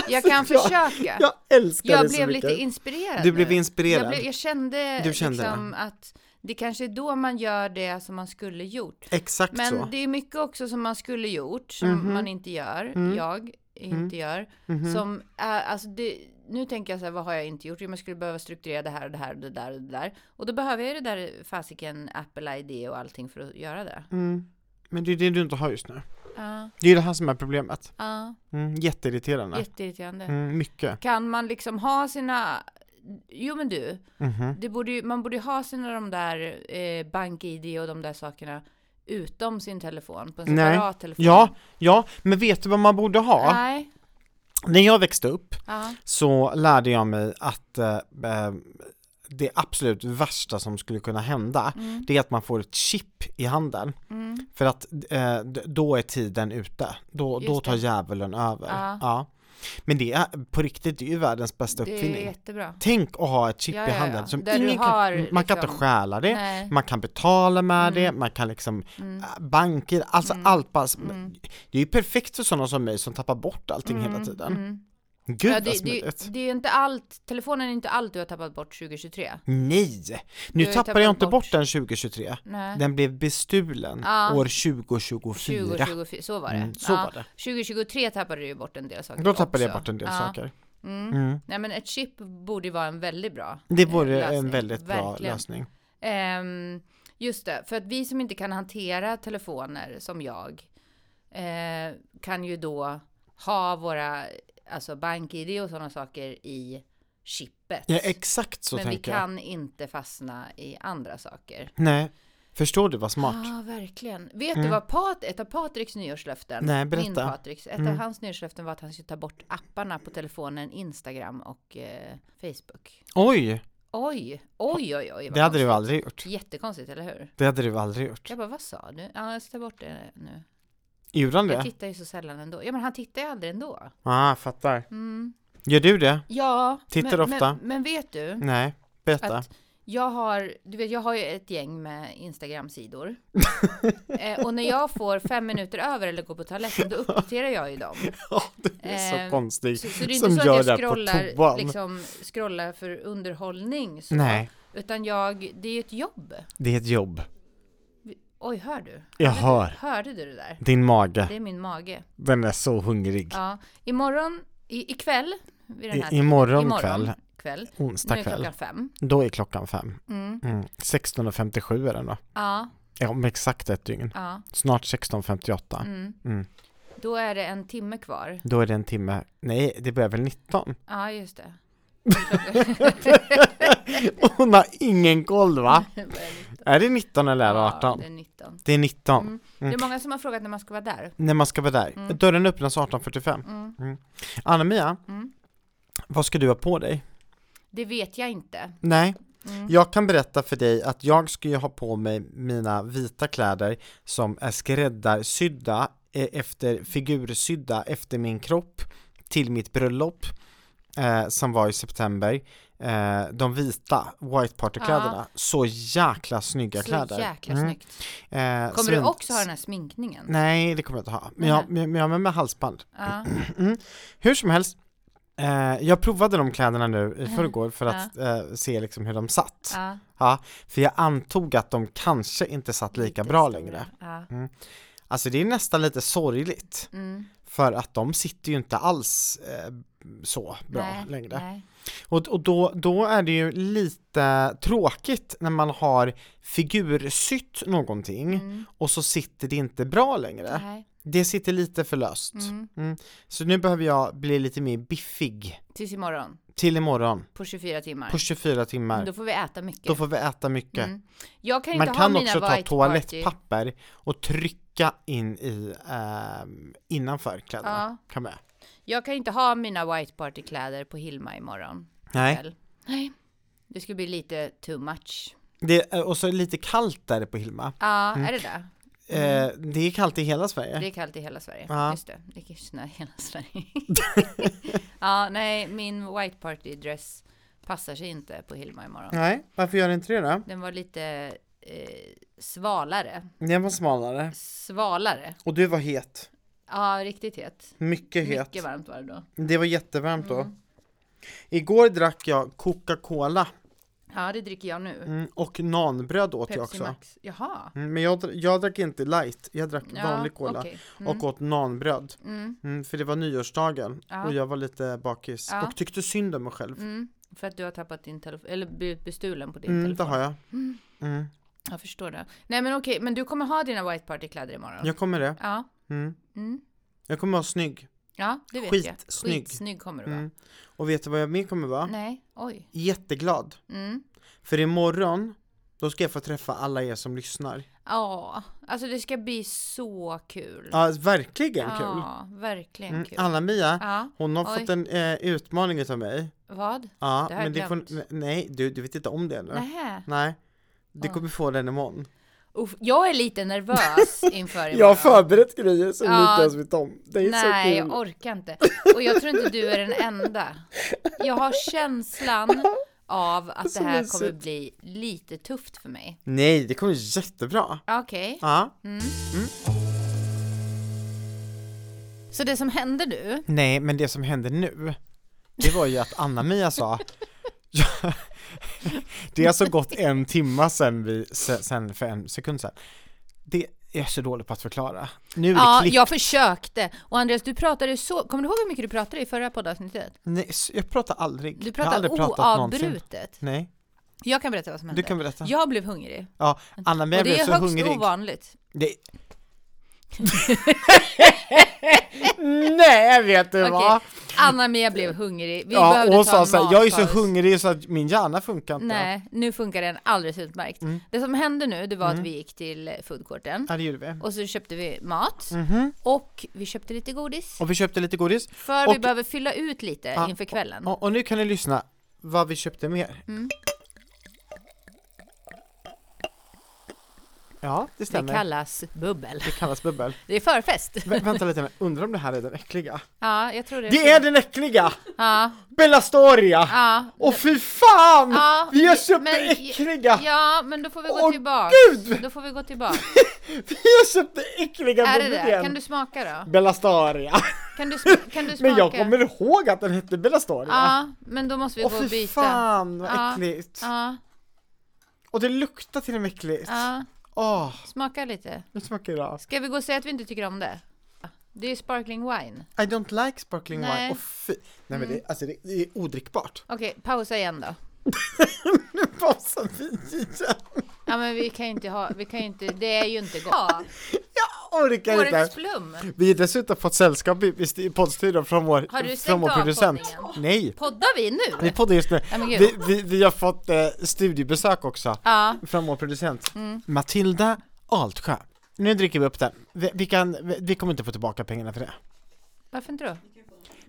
[SPEAKER 1] jag kan
[SPEAKER 2] Alltså, jag-
[SPEAKER 1] försöka. Jag,
[SPEAKER 2] Jag älskar det så
[SPEAKER 1] blev lite
[SPEAKER 2] mycket.
[SPEAKER 1] inspirerad.
[SPEAKER 2] Du blev
[SPEAKER 1] nu.
[SPEAKER 2] inspirerad.
[SPEAKER 1] Jag, blev, jag kände,
[SPEAKER 2] Du kände
[SPEAKER 1] liksom att det kanske är då man gör det som man skulle gjort.
[SPEAKER 2] Exakt
[SPEAKER 1] Men
[SPEAKER 2] så.
[SPEAKER 1] det är mycket också som man skulle gjort, som
[SPEAKER 2] Mhm.
[SPEAKER 1] man inte gör,
[SPEAKER 2] Mm.
[SPEAKER 1] jag inte gör.
[SPEAKER 2] Mhm.
[SPEAKER 1] Som, är, alltså det, nu tänker jag så här, vad har jag inte gjort? Jo, men jag skulle behöva strukturera det här och det här och det där och det där. Och då behöver jag ju det där fasiken Apple ID och allting för att göra det.
[SPEAKER 2] Mm. Men det är det du inte har just nu.
[SPEAKER 1] Ja,
[SPEAKER 2] Det är det här som är problemet.
[SPEAKER 1] ja,
[SPEAKER 2] Mm. Jätteirriterande.
[SPEAKER 1] jätteirriterande.
[SPEAKER 2] Mm, mycket.
[SPEAKER 1] Kan man liksom ha sina... Jo men du,
[SPEAKER 2] Mhm.
[SPEAKER 1] det borde ju, man borde ju ha sina de där eh, bank-ID och de där sakerna utom sin telefon, på en
[SPEAKER 2] Nej.
[SPEAKER 1] separat telefon.
[SPEAKER 2] Ja, ja, men vet du vad man borde ha?
[SPEAKER 1] Nej.
[SPEAKER 2] När jag växte upp
[SPEAKER 1] Ja.
[SPEAKER 2] så lärde jag mig att eh, eh, det absolut värsta som skulle kunna hända
[SPEAKER 1] Mm,
[SPEAKER 2] det är att man får ett chip i handen
[SPEAKER 1] mm.
[SPEAKER 2] för att eh, d- då är tiden ute. Då,
[SPEAKER 1] Just
[SPEAKER 2] då tar
[SPEAKER 1] det.
[SPEAKER 2] djävulen över.
[SPEAKER 1] Ja.
[SPEAKER 2] Men det är på riktigt, det är ju världens bästa
[SPEAKER 1] Det är
[SPEAKER 2] uppfinning.
[SPEAKER 1] jättebra.
[SPEAKER 2] Tänk att ha ett chip
[SPEAKER 1] Ja,
[SPEAKER 2] i
[SPEAKER 1] ja, ja.
[SPEAKER 2] handen som
[SPEAKER 1] Där du
[SPEAKER 2] ingen
[SPEAKER 1] har,
[SPEAKER 2] kan, man kan inte
[SPEAKER 1] liksom-
[SPEAKER 2] stjäla det,
[SPEAKER 1] Nej.
[SPEAKER 2] Mm. man kan betala med
[SPEAKER 1] Mm.
[SPEAKER 2] det, man kan liksom
[SPEAKER 1] Mm.
[SPEAKER 2] äh, banker, alltså
[SPEAKER 1] Mm.
[SPEAKER 2] allt bara,
[SPEAKER 1] Mm.
[SPEAKER 2] det är ju perfekt för sådana som mig som tappar bort allting hela
[SPEAKER 1] Mm,
[SPEAKER 2] tiden.
[SPEAKER 1] mm.
[SPEAKER 2] Gud
[SPEAKER 1] ja,
[SPEAKER 2] vad
[SPEAKER 1] det,
[SPEAKER 2] smidigt.
[SPEAKER 1] det, det är inte allt, telefonen är inte allt du har tappat bort 2023.
[SPEAKER 2] Nej!
[SPEAKER 1] Du
[SPEAKER 2] Nu
[SPEAKER 1] har ju
[SPEAKER 2] tappade jag
[SPEAKER 1] tappat
[SPEAKER 2] inte bort.
[SPEAKER 1] bort
[SPEAKER 2] den 2023.
[SPEAKER 1] Nej.
[SPEAKER 2] Den blev bestulen
[SPEAKER 1] Ja.
[SPEAKER 2] år 2024.
[SPEAKER 1] 2024, så var det.
[SPEAKER 2] Mm, så
[SPEAKER 1] Ja,
[SPEAKER 2] var det.
[SPEAKER 1] 2023 tappade du ju bort en del saker
[SPEAKER 2] Då tappade jag
[SPEAKER 1] också.
[SPEAKER 2] bort en del
[SPEAKER 1] Ja.
[SPEAKER 2] saker.
[SPEAKER 1] Mm.
[SPEAKER 2] Mm.
[SPEAKER 1] Nej men ett chip borde ju vara en väldigt bra
[SPEAKER 2] Det
[SPEAKER 1] eh,
[SPEAKER 2] vore en
[SPEAKER 1] lösning.
[SPEAKER 2] väldigt bra
[SPEAKER 1] Verkligen.
[SPEAKER 2] lösning.
[SPEAKER 1] Ehm, just det, för att vi som inte kan hantera telefoner som jag eh, kan ju då ha våra alltså bank-id och sådana saker i chippet.
[SPEAKER 2] Ja, exakt så
[SPEAKER 1] men vi
[SPEAKER 2] tänker
[SPEAKER 1] kan inte fastna i andra saker.
[SPEAKER 2] jag. Nej, förstår du vad smart? Mm.
[SPEAKER 1] Ja, ah, verkligen. Vet du vad Pat, ett av Patriks nyårslöften,
[SPEAKER 2] Nej,
[SPEAKER 1] min
[SPEAKER 2] berätta. Mm.
[SPEAKER 1] Patriks, ett av hans nyårslöften var att han skulle ta bort apparna på telefonen, Instagram och eh, Facebook.
[SPEAKER 2] Oj,
[SPEAKER 1] Oj, oj, oj, oj. vad
[SPEAKER 2] det hade du
[SPEAKER 1] konstigt.
[SPEAKER 2] aldrig gjort.
[SPEAKER 1] Jättekonstigt, eller hur?
[SPEAKER 2] Det hade du aldrig gjort.
[SPEAKER 1] Jag bara, vad sa du? Ja, jag ska ta bort det nu.
[SPEAKER 2] Gjorde han
[SPEAKER 1] Jag
[SPEAKER 2] det?
[SPEAKER 1] tittar ju så sällan ändå. Ja, men han tittar ju aldrig ändå.
[SPEAKER 2] Ah, fattar.
[SPEAKER 1] Mm.
[SPEAKER 2] Gör du det?
[SPEAKER 1] Ja.
[SPEAKER 2] Tittar
[SPEAKER 1] men,
[SPEAKER 2] ofta. Mm.
[SPEAKER 1] Men, men vet du?
[SPEAKER 2] Nej, berätta.
[SPEAKER 1] Att jag har, du vet, jag har ju ett gäng med Instagram-sidor. eh, och när jag får fem minuter över eller går på toaletten, då uppdaterar jag ju dem.
[SPEAKER 2] Ja, du är så
[SPEAKER 1] Eh,
[SPEAKER 2] konstig
[SPEAKER 1] Så, så det är
[SPEAKER 2] som
[SPEAKER 1] inte så
[SPEAKER 2] gör
[SPEAKER 1] att
[SPEAKER 2] det
[SPEAKER 1] jag
[SPEAKER 2] på
[SPEAKER 1] scrollar,
[SPEAKER 2] toan.
[SPEAKER 1] liksom, scrollar för underhållning. Så.
[SPEAKER 2] Nej,
[SPEAKER 1] Utan jag, det är ju ett jobb.
[SPEAKER 2] det är ett jobb.
[SPEAKER 1] Oj, hör du?
[SPEAKER 2] Jag
[SPEAKER 1] Hörde
[SPEAKER 2] hör.
[SPEAKER 1] Du, hörde du det där?
[SPEAKER 2] Din mage,
[SPEAKER 1] Det är min mage.
[SPEAKER 2] den är så hungrig.
[SPEAKER 1] Ja, imorgon, i, ikväll, vid den här
[SPEAKER 2] I, imorgon,
[SPEAKER 1] imorgon
[SPEAKER 2] kväll,
[SPEAKER 1] kväll. nu
[SPEAKER 2] onsdag
[SPEAKER 1] är
[SPEAKER 2] kväll,
[SPEAKER 1] klockan fem.
[SPEAKER 2] då är klockan fem.
[SPEAKER 1] Mm.
[SPEAKER 2] Mm. 16.57 är den då.
[SPEAKER 1] Ja,
[SPEAKER 2] Ja, Om exakt ett dygn.
[SPEAKER 1] ja.
[SPEAKER 2] Snart 16.58.
[SPEAKER 1] Mm.
[SPEAKER 2] Mm.
[SPEAKER 1] Då är det en timme kvar.
[SPEAKER 2] Då är det en timme, nej det börjar väl 19?
[SPEAKER 1] Ja, just det.
[SPEAKER 2] Hon har ingen koll va?
[SPEAKER 1] Det börjar nitton.
[SPEAKER 2] Är det 19 eller är det
[SPEAKER 1] Ja,
[SPEAKER 2] 18?
[SPEAKER 1] det är 19.
[SPEAKER 2] Det är 19.
[SPEAKER 1] Mm. Det är många som har frågat när man ska vara där.
[SPEAKER 2] När man ska vara där.
[SPEAKER 1] Mm.
[SPEAKER 2] Dörren öppnas 18.45.
[SPEAKER 1] Mm.
[SPEAKER 2] Anna-Mia,
[SPEAKER 1] Mm.
[SPEAKER 2] vad ska du ha på dig?
[SPEAKER 1] Det vet jag inte.
[SPEAKER 2] Nej,
[SPEAKER 1] Mm.
[SPEAKER 2] jag kan berätta för dig att jag ska ju ha på mig mina vita kläder som är skräddarsydda eh, efter figursydda efter min kropp till mitt bröllop eh, som var i september. Eh, de vita white party-kläderna. Så jäkla snygga
[SPEAKER 1] Så
[SPEAKER 2] kläder.
[SPEAKER 1] jäkla
[SPEAKER 2] Mm.
[SPEAKER 1] snyggt.
[SPEAKER 2] Eh,
[SPEAKER 1] Kommer
[SPEAKER 2] svin-
[SPEAKER 1] du också ha den här sminkningen?
[SPEAKER 2] Nej, det kommer jag inte ha. Men jag, men jag har med mig halsband. Mm.
[SPEAKER 1] Ja.
[SPEAKER 2] Hur som helst, eh, jag provade de kläderna nu
[SPEAKER 1] Mm.
[SPEAKER 2] i förrgår för att eh, se liksom hur de satt.
[SPEAKER 1] ja.
[SPEAKER 2] Ja, för jag antog att de kanske inte satt lika
[SPEAKER 1] Lite
[SPEAKER 2] bra
[SPEAKER 1] större.
[SPEAKER 2] längre.
[SPEAKER 1] Ja.
[SPEAKER 2] Alltså det är nästan lite sorgligt,
[SPEAKER 1] Mm.
[SPEAKER 2] för att de sitter ju inte alls eh, så bra
[SPEAKER 1] nej,
[SPEAKER 2] längre.
[SPEAKER 1] Nej.
[SPEAKER 2] Och, och då, då är det ju lite tråkigt när man har figursytt någonting
[SPEAKER 1] Mm.
[SPEAKER 2] och så sitter det inte bra längre.
[SPEAKER 1] nej.
[SPEAKER 2] Det sitter lite för löst.
[SPEAKER 1] Mm.
[SPEAKER 2] Så nu behöver jag bli lite mer biffig
[SPEAKER 1] Tills imorgon
[SPEAKER 2] till imorgon
[SPEAKER 1] på 24 timmar.
[SPEAKER 2] på 24 timmar.
[SPEAKER 1] Då får vi äta mycket.
[SPEAKER 2] Då får vi äta mycket.
[SPEAKER 1] Mm. Jag kan
[SPEAKER 2] Man
[SPEAKER 1] inte
[SPEAKER 2] kan
[SPEAKER 1] ha mina
[SPEAKER 2] också ta
[SPEAKER 1] white party.
[SPEAKER 2] toalettpapper och trycka in i ehm, innanför kläderna.
[SPEAKER 1] Ja.
[SPEAKER 2] Kan med.
[SPEAKER 1] Jag kan inte ha mina white party kläder på Hilma imorgon.
[SPEAKER 2] Nej,
[SPEAKER 1] kväll. Nej. Det skulle bli lite too much.
[SPEAKER 2] det är, och så är det lite kallt där på Hilma.
[SPEAKER 1] Ja, är det där?
[SPEAKER 2] Eh, det är kallt i hela Sverige.
[SPEAKER 1] Mm. Det är kallt i hela Sverige.
[SPEAKER 2] Ja.
[SPEAKER 1] Just det, det är snö i hela Sverige. ja, nej, min white party dress passar sig inte på Hilma imorgon.
[SPEAKER 2] Nej, varför gör det inte det då?
[SPEAKER 1] Den var lite eh, svalare.
[SPEAKER 2] Den var smalare.
[SPEAKER 1] Svalare.
[SPEAKER 2] Och du var het.
[SPEAKER 1] Ja, riktigt het.
[SPEAKER 2] Mycket het.
[SPEAKER 1] Mycket varmt var det då. Mm.
[SPEAKER 2] Det var jättevarmt då. Igår drack jag Coca-Cola
[SPEAKER 1] Ja, det dricker jag nu.
[SPEAKER 2] mm, och nanbröd åt jag
[SPEAKER 1] Pepsi
[SPEAKER 2] också.
[SPEAKER 1] Max. Jaha.
[SPEAKER 2] Mm, men jag, dr- jag drack inte light, jag drack vanlig cola
[SPEAKER 1] okej.
[SPEAKER 2] och åt nanbröd.
[SPEAKER 1] Mm,
[SPEAKER 2] Mm, för det var nyårsdagen
[SPEAKER 1] Ja.
[SPEAKER 2] och jag var lite bakis
[SPEAKER 1] Ja.
[SPEAKER 2] och tyckte synd om mig själv.
[SPEAKER 1] mm. För att du har tappat din telefon, eller blivit bestulen på din
[SPEAKER 2] Mm, det
[SPEAKER 1] telefon.
[SPEAKER 2] har jag. Mm.
[SPEAKER 1] Jag förstår det. Nej men okej, men du kommer ha dina white party-kläder imorgon?
[SPEAKER 2] Jag kommer det.
[SPEAKER 1] Ja.
[SPEAKER 2] Mm.
[SPEAKER 1] Mm.
[SPEAKER 2] Jag kommer vara snygg.
[SPEAKER 1] Ja, det vet jag.
[SPEAKER 2] Skitsnygg.
[SPEAKER 1] Skitsnygg kommer du vara.
[SPEAKER 2] Mm. Och vet du vad jag mer kommer vara?
[SPEAKER 1] Nej, oj.
[SPEAKER 2] Jätteglad.
[SPEAKER 1] Mm.
[SPEAKER 2] För imorgon, då ska jag få träffa alla er som lyssnar.
[SPEAKER 1] Ja, alltså det ska bli så kul.
[SPEAKER 2] Ja, verkligen kul.
[SPEAKER 1] Ja, verkligen
[SPEAKER 2] Mm.
[SPEAKER 1] kul.
[SPEAKER 2] Anna-Mia,
[SPEAKER 1] Ja,
[SPEAKER 2] hon har
[SPEAKER 1] Oj.
[SPEAKER 2] fått en eh, utmaning utav mig.
[SPEAKER 1] vad?
[SPEAKER 2] Ja,
[SPEAKER 1] Det har
[SPEAKER 2] men
[SPEAKER 1] jag
[SPEAKER 2] det får,
[SPEAKER 1] glömt.
[SPEAKER 2] ne- nej, du, du vet inte om det nu. Nej.
[SPEAKER 1] Nähä.
[SPEAKER 2] Du
[SPEAKER 1] Ja.
[SPEAKER 2] kommer få den imorgon.
[SPEAKER 1] Uff, jag är lite nervös inför imorgon.
[SPEAKER 2] Jag har förberett grejer som
[SPEAKER 1] Ja.
[SPEAKER 2] ni inte ens vet om. Det är
[SPEAKER 1] Nej,
[SPEAKER 2] så
[SPEAKER 1] jag
[SPEAKER 2] kul.
[SPEAKER 1] orkar inte. Och jag tror inte du är den enda. Jag har känslan av att
[SPEAKER 2] Så
[SPEAKER 1] det här kommer
[SPEAKER 2] mysigt.
[SPEAKER 1] bli lite tufft för mig.
[SPEAKER 2] Nej, det kommer jättebra.
[SPEAKER 1] Okej.
[SPEAKER 2] Ja.
[SPEAKER 1] Så det som hände nu,
[SPEAKER 2] Nej, men det som hände nu, det var ju att Anna-Mia sa Ja, Det har alltså gått en timma sen vi, se- sen för en sekund sen. Det är jag så dålig på att förklara. Nu är det
[SPEAKER 1] ja,
[SPEAKER 2] klipp.
[SPEAKER 1] jag försökte. Och Andreas, du pratade så, kommer du ihåg hur mycket du pratade i förra poddavsnittet?
[SPEAKER 2] Nej, s- jag pratar aldrig.
[SPEAKER 1] Du
[SPEAKER 2] jag har
[SPEAKER 1] pratade
[SPEAKER 2] aldrig pratat någonsin.
[SPEAKER 1] oavbrutet.
[SPEAKER 2] Nej,
[SPEAKER 1] Jag kan berätta vad som hände.
[SPEAKER 2] du kan berätta.
[SPEAKER 1] Jag blev hungrig.
[SPEAKER 2] Ja, Anna-Mia
[SPEAKER 1] och det
[SPEAKER 2] blev
[SPEAKER 1] är
[SPEAKER 2] så
[SPEAKER 1] högst
[SPEAKER 2] hungrig.
[SPEAKER 1] ovanligt.
[SPEAKER 2] Det... Nej, vet du vad?
[SPEAKER 1] Okej, Anna-Mia blev hungrig. Vi
[SPEAKER 2] Ja, och
[SPEAKER 1] behövde
[SPEAKER 2] hon
[SPEAKER 1] ta
[SPEAKER 2] sa
[SPEAKER 1] en
[SPEAKER 2] såhär, jag är så
[SPEAKER 1] matpaus."
[SPEAKER 2] hungrig så att min hjärna funkar inte.
[SPEAKER 1] Nej, nu funkar den alldeles utmärkt.
[SPEAKER 2] Mm.
[SPEAKER 1] Det som hände nu, det var att vi gick till foodcourten
[SPEAKER 2] Ja, det gjorde vi.
[SPEAKER 1] och så köpte vi mat
[SPEAKER 2] Mhm.
[SPEAKER 1] och vi köpte lite godis.
[SPEAKER 2] Och vi köpte lite godis.
[SPEAKER 1] För vi
[SPEAKER 2] och-
[SPEAKER 1] behöver fylla ut lite
[SPEAKER 2] Ja,
[SPEAKER 1] inför kvällen.
[SPEAKER 2] Och, och nu kan ni lyssna vad
[SPEAKER 1] Mm.
[SPEAKER 2] vi köpte mer. Ja, det
[SPEAKER 1] Det
[SPEAKER 2] stämmer.
[SPEAKER 1] kallas bubbel.
[SPEAKER 2] det kallas bubbel.
[SPEAKER 1] Det är förfest.
[SPEAKER 2] Vä- vänta lite nu, undrar om det här är den äckliga?
[SPEAKER 1] Ja, jag tror det.
[SPEAKER 2] Det är den äckliga!
[SPEAKER 1] Ja,
[SPEAKER 2] Bellastoria!
[SPEAKER 1] ja.
[SPEAKER 2] Åh fy fan!
[SPEAKER 1] Ja,
[SPEAKER 2] vi har köpt
[SPEAKER 1] men-
[SPEAKER 2] det äckliga!
[SPEAKER 1] Ja, men då får vi gå
[SPEAKER 2] Åh,
[SPEAKER 1] tillbaka.
[SPEAKER 2] gud!
[SPEAKER 1] Då får vi gå tillbaka.
[SPEAKER 2] Vi har köpt det äckliga
[SPEAKER 1] Är det
[SPEAKER 2] bubblet
[SPEAKER 1] det?
[SPEAKER 2] igen.
[SPEAKER 1] Kan du smaka då?
[SPEAKER 2] Bellastaria!
[SPEAKER 1] Kan du, sm- kan du smaka?
[SPEAKER 2] Men jag kommer ihåg att den hette Bellastaria!
[SPEAKER 1] Ja, men då måste vi
[SPEAKER 2] Åh
[SPEAKER 1] gå och
[SPEAKER 2] fy
[SPEAKER 1] byta.
[SPEAKER 2] fan vad
[SPEAKER 1] Ja.
[SPEAKER 2] äckligt!
[SPEAKER 1] Ja,
[SPEAKER 2] Och det luktar till och med äckligt!
[SPEAKER 1] ja.
[SPEAKER 2] Åh,
[SPEAKER 1] Smaka lite.
[SPEAKER 2] nu smakar det av.
[SPEAKER 1] Ska vi gå och säga att vi inte tycker om det? Det är ju sparkling wine.
[SPEAKER 2] I don't like sparkling
[SPEAKER 1] Nej. Mm.
[SPEAKER 2] wine, Åh fy! Nej men det, alltså det, det är odrickbart!
[SPEAKER 1] Okej, pausa igen då.
[SPEAKER 2] Nu pausar vi igen!
[SPEAKER 1] Ja, men vi kan ju inte ha, vi kan ju inte, det är ju inte gott. Ja,
[SPEAKER 2] Jag orkar
[SPEAKER 1] årets
[SPEAKER 2] inte!
[SPEAKER 1] flum.
[SPEAKER 2] Vi har dessutom fått sällskap i, i st- i poddstudion från vår,
[SPEAKER 1] Har du
[SPEAKER 2] från
[SPEAKER 1] stängt
[SPEAKER 2] vår
[SPEAKER 1] av
[SPEAKER 2] producent.
[SPEAKER 1] poddningen?
[SPEAKER 2] Nej!
[SPEAKER 1] Poddar vi nu?
[SPEAKER 2] Vi poddar just nu.
[SPEAKER 1] Nej, men gud.
[SPEAKER 2] Vi, vi, vi har fått eh, studiebesök också.
[SPEAKER 1] Ja,
[SPEAKER 2] från vår producent
[SPEAKER 1] Mm.
[SPEAKER 2] Matilda Altsjö Nu dricker vi upp den, vi, vi, kan, vi, vi kommer inte få tillbaka pengarna för det
[SPEAKER 1] varför inte då?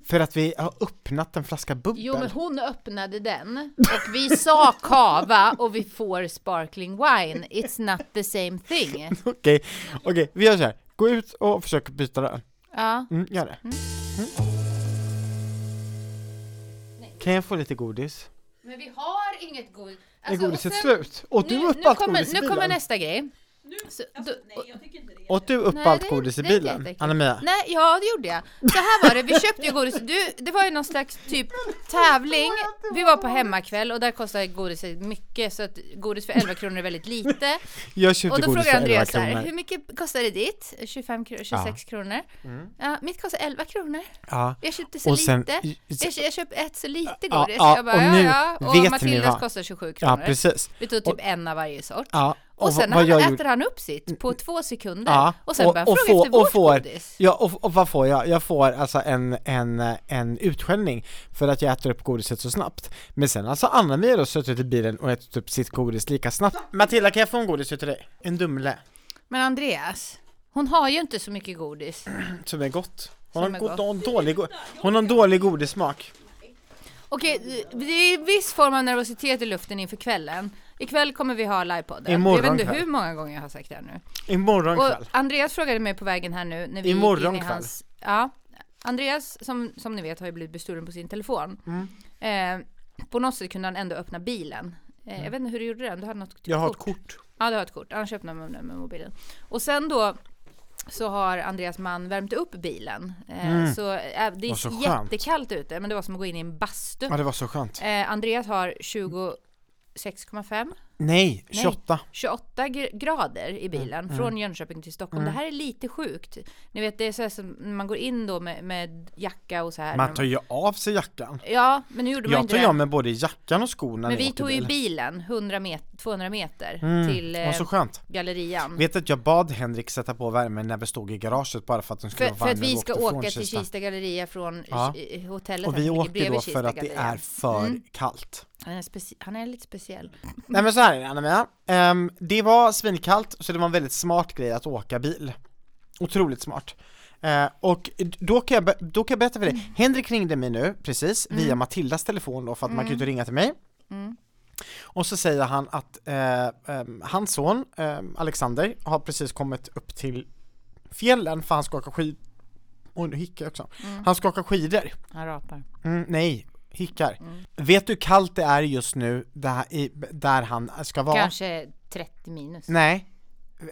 [SPEAKER 2] För att vi har öppnat en flaska bubbel
[SPEAKER 1] Jo, men hon öppnade den och vi sa kava och vi får sparkling wine. It's not the same thing.
[SPEAKER 2] Okej, okej, vi gör så här. gå ut och försök byta den
[SPEAKER 1] Ja,
[SPEAKER 2] mm, gör det mm. Mm. Kan jag få lite godis?
[SPEAKER 1] men vi har inget godis.
[SPEAKER 2] är godiset slut? Åt du upp
[SPEAKER 1] Alltså, nu,
[SPEAKER 2] allt
[SPEAKER 1] kommer,
[SPEAKER 2] godis i
[SPEAKER 1] nu kommer
[SPEAKER 2] bilen?
[SPEAKER 1] nästa grej. Så, då,
[SPEAKER 3] Nej, jag tycker inte det.
[SPEAKER 2] Åt du upp
[SPEAKER 1] Nej, det
[SPEAKER 2] allt
[SPEAKER 1] är-
[SPEAKER 2] godis i
[SPEAKER 1] det är inte
[SPEAKER 2] bilen?
[SPEAKER 1] jätteäckligt.
[SPEAKER 2] Anna-Mia?
[SPEAKER 1] Nej, ja det gjorde jag. Så här var det, vi köpte ju godis. Du, det var ju någon slags typ tävling. Vi var på hemmakväll och där kostade godiset mycket så att godis för 11 kronor är väldigt lite.
[SPEAKER 2] Jag
[SPEAKER 1] Och
[SPEAKER 2] köpte
[SPEAKER 1] då
[SPEAKER 2] godis
[SPEAKER 1] frågar
[SPEAKER 2] för 11
[SPEAKER 1] Andreas så här,
[SPEAKER 2] kronor
[SPEAKER 1] hur mycket kostade ditt? 25 kronor, 26 kronor. Ja, mitt kostade 11 kronor.
[SPEAKER 2] Ja,
[SPEAKER 1] Jag köpte så
[SPEAKER 2] Och sen-
[SPEAKER 1] lite. Jag, kö- jag köpte ett så lite
[SPEAKER 2] Ja,
[SPEAKER 1] godis.
[SPEAKER 2] ja,
[SPEAKER 1] jag bara,
[SPEAKER 2] och
[SPEAKER 1] ja,
[SPEAKER 2] nu
[SPEAKER 1] ja.
[SPEAKER 2] vet ni
[SPEAKER 1] Och Matildas
[SPEAKER 2] vad?
[SPEAKER 1] kostar 27
[SPEAKER 2] ja
[SPEAKER 1] kronor.
[SPEAKER 2] precis
[SPEAKER 1] vi tog typ en av varje sort.
[SPEAKER 2] Ja,
[SPEAKER 1] Och, sen
[SPEAKER 2] vad- vad jag
[SPEAKER 1] han,
[SPEAKER 2] gjorde-
[SPEAKER 1] äter han upp sitt på två sekunder.
[SPEAKER 2] Ja,
[SPEAKER 1] Och sen börjar han fråga
[SPEAKER 2] få-
[SPEAKER 1] efter vårt
[SPEAKER 2] får,
[SPEAKER 1] godis.
[SPEAKER 2] Ja, och, och vad får jag? Jag får alltså en, en, eh, en utskällning för att jag äter upp godiset så snabbt. Men sen alltså Anna-Mia då suttit i bilen och ätit upp sitt godis lika snabbt. Matilda, kan jag få en godis till dig? En Dumle.
[SPEAKER 1] Men Andreas, hon har ju inte så mycket godis.
[SPEAKER 2] Som är gott. Hon har,
[SPEAKER 1] Som är
[SPEAKER 2] go-
[SPEAKER 1] gott.
[SPEAKER 2] Hon, dålig go- hon har en dålig godissmak.
[SPEAKER 1] Okej, det är en viss form av nervositet i luften inför kvällen. Ikväll kommer vi ha livepodden.
[SPEAKER 2] Imorgon
[SPEAKER 1] jag vet inte
[SPEAKER 2] kväll.
[SPEAKER 1] hur många gånger jag har sagt det här nu.
[SPEAKER 2] Imorgon
[SPEAKER 1] Och
[SPEAKER 2] kväll.
[SPEAKER 1] Andreas frågade mig på vägen här nu när vi gick
[SPEAKER 2] Imorgon
[SPEAKER 1] in i
[SPEAKER 2] kväll.
[SPEAKER 1] hans... Ja, Andreas, som, som ni vet, har ju blivit bestulen på sin telefon.
[SPEAKER 2] Mm.
[SPEAKER 1] Eh, på något sätt kunde han ändå öppna bilen. Eh, Jag vet inte hur du gjorde det, du hade något typ
[SPEAKER 2] Jag har ett
[SPEAKER 1] kort.
[SPEAKER 2] kort.
[SPEAKER 1] Ja, du har ett kort. Annars öppnar man den med mobilen. Och sen då så har Andreas man värmt upp bilen. Eh, Så eh, det är
[SPEAKER 2] Mm. Vad så skönt.
[SPEAKER 1] jättekallt ute, men det var som att gå in i en bastu.
[SPEAKER 2] Ja, det var så skönt.
[SPEAKER 1] Eh, Andreas har 26,5,
[SPEAKER 2] Nej, 28.
[SPEAKER 1] 28 gr- grader i bilen
[SPEAKER 2] Mm.
[SPEAKER 1] från Jönköping till Stockholm. Det här är lite sjukt. Ni vet, det är så här som när man går in då med, med jacka och så här.
[SPEAKER 2] Man tar ju av sig jackan.
[SPEAKER 1] Ja, men nu gjorde man
[SPEAKER 2] Jag
[SPEAKER 1] inte
[SPEAKER 2] tar ju
[SPEAKER 1] det.
[SPEAKER 2] av mig både jackan och skorna
[SPEAKER 1] Men
[SPEAKER 2] när jag
[SPEAKER 1] vi
[SPEAKER 2] åker
[SPEAKER 1] tog ju
[SPEAKER 2] bil.
[SPEAKER 1] bilen 100 meter, 200 meter till
[SPEAKER 2] Mm. Vad
[SPEAKER 1] eh,
[SPEAKER 2] så skönt.
[SPEAKER 1] gallerian.
[SPEAKER 2] Vet att jag bad Henrik sätta på värmen när vi stod i garaget bara för att den skulle
[SPEAKER 1] För,
[SPEAKER 2] vara varm
[SPEAKER 1] för att
[SPEAKER 2] när
[SPEAKER 1] vi ska
[SPEAKER 2] åkte från
[SPEAKER 1] åka till Kista galleria från
[SPEAKER 2] Ja.
[SPEAKER 1] i- i hotellet
[SPEAKER 2] Och
[SPEAKER 1] här
[SPEAKER 2] vi
[SPEAKER 1] som ligger
[SPEAKER 2] åker
[SPEAKER 1] bredvid
[SPEAKER 2] då
[SPEAKER 1] Kista Mm.
[SPEAKER 2] för att det
[SPEAKER 1] galleria.
[SPEAKER 2] är för kallt.
[SPEAKER 1] han, är speci- han är lite speciell.
[SPEAKER 2] Nej men så här är det Anna-Mia. Ehm, det var svinkallt så det var en väldigt smart grej att åka bil. Otroligt smart. Eh, och då kan, jag, be- då kan jag berätta för dig, Henrik ringde mig nu precis via Matildas telefon då för att man kan ju inte ringa till mig. Och så säger han att eh, ehm, hans son eh, Alexander har precis kommit upp till fjällen för han ska åka skid... Och nu hickar jag också. Han ska åka skidor.
[SPEAKER 1] Han rapar.
[SPEAKER 2] Mm, nej, hickar.
[SPEAKER 1] Mm.
[SPEAKER 2] Vet du hur kallt det är just nu där, i, där han ska vara?
[SPEAKER 1] Kanske 30 minus.
[SPEAKER 2] Nej.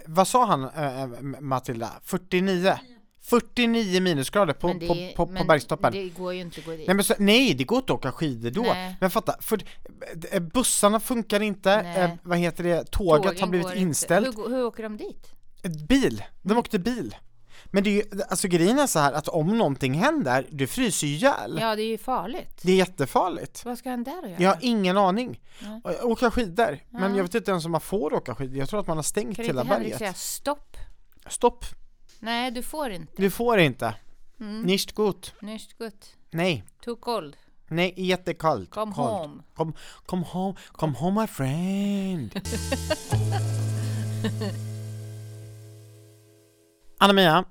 [SPEAKER 2] Vad sa han eh, eh, Matilda? 49? 49 minusgrader på,
[SPEAKER 1] Men det-
[SPEAKER 2] på, på, på
[SPEAKER 1] men
[SPEAKER 2] bergstoppen.
[SPEAKER 1] Det går ju inte att gå dit.
[SPEAKER 2] Nej, men så, nej, det går inte att åka skidor då.
[SPEAKER 1] Nej.
[SPEAKER 2] Men fatta, för, eh, bussarna funkar inte,
[SPEAKER 1] Nej.
[SPEAKER 2] eh, vad heter det, tåget har
[SPEAKER 1] Tågen går
[SPEAKER 2] blivit
[SPEAKER 1] inte. Mm.
[SPEAKER 2] inställt.
[SPEAKER 1] Hur, hur åker de dit?
[SPEAKER 2] Ett Bil, de åkte bil. Men det är ju, alltså grejen är så här att om någonting händer, du fryser ju ihjäl.
[SPEAKER 1] Ja, det är ju farligt.
[SPEAKER 2] Det är jättefarligt.
[SPEAKER 1] Vad ska han där och göra?
[SPEAKER 2] Jag har ingen aning.
[SPEAKER 1] Nej.
[SPEAKER 2] Å- Åka skidor, men jag vet inte ens om man får åka skidor. Jag tror att man har stängt
[SPEAKER 1] kan
[SPEAKER 2] hela
[SPEAKER 1] inte Henrik
[SPEAKER 2] berget.
[SPEAKER 1] säga stopp?
[SPEAKER 2] Stopp,
[SPEAKER 1] Nej, du får inte.
[SPEAKER 2] du får inte.
[SPEAKER 1] Mm.
[SPEAKER 2] Nicht gut.
[SPEAKER 1] Nicht gut.
[SPEAKER 2] Nej,
[SPEAKER 1] Too cold.
[SPEAKER 2] nej, jättekallt.
[SPEAKER 1] Come
[SPEAKER 2] Kallt.
[SPEAKER 1] home.
[SPEAKER 2] Kom, kom home, come home my friend. Anna-Mia,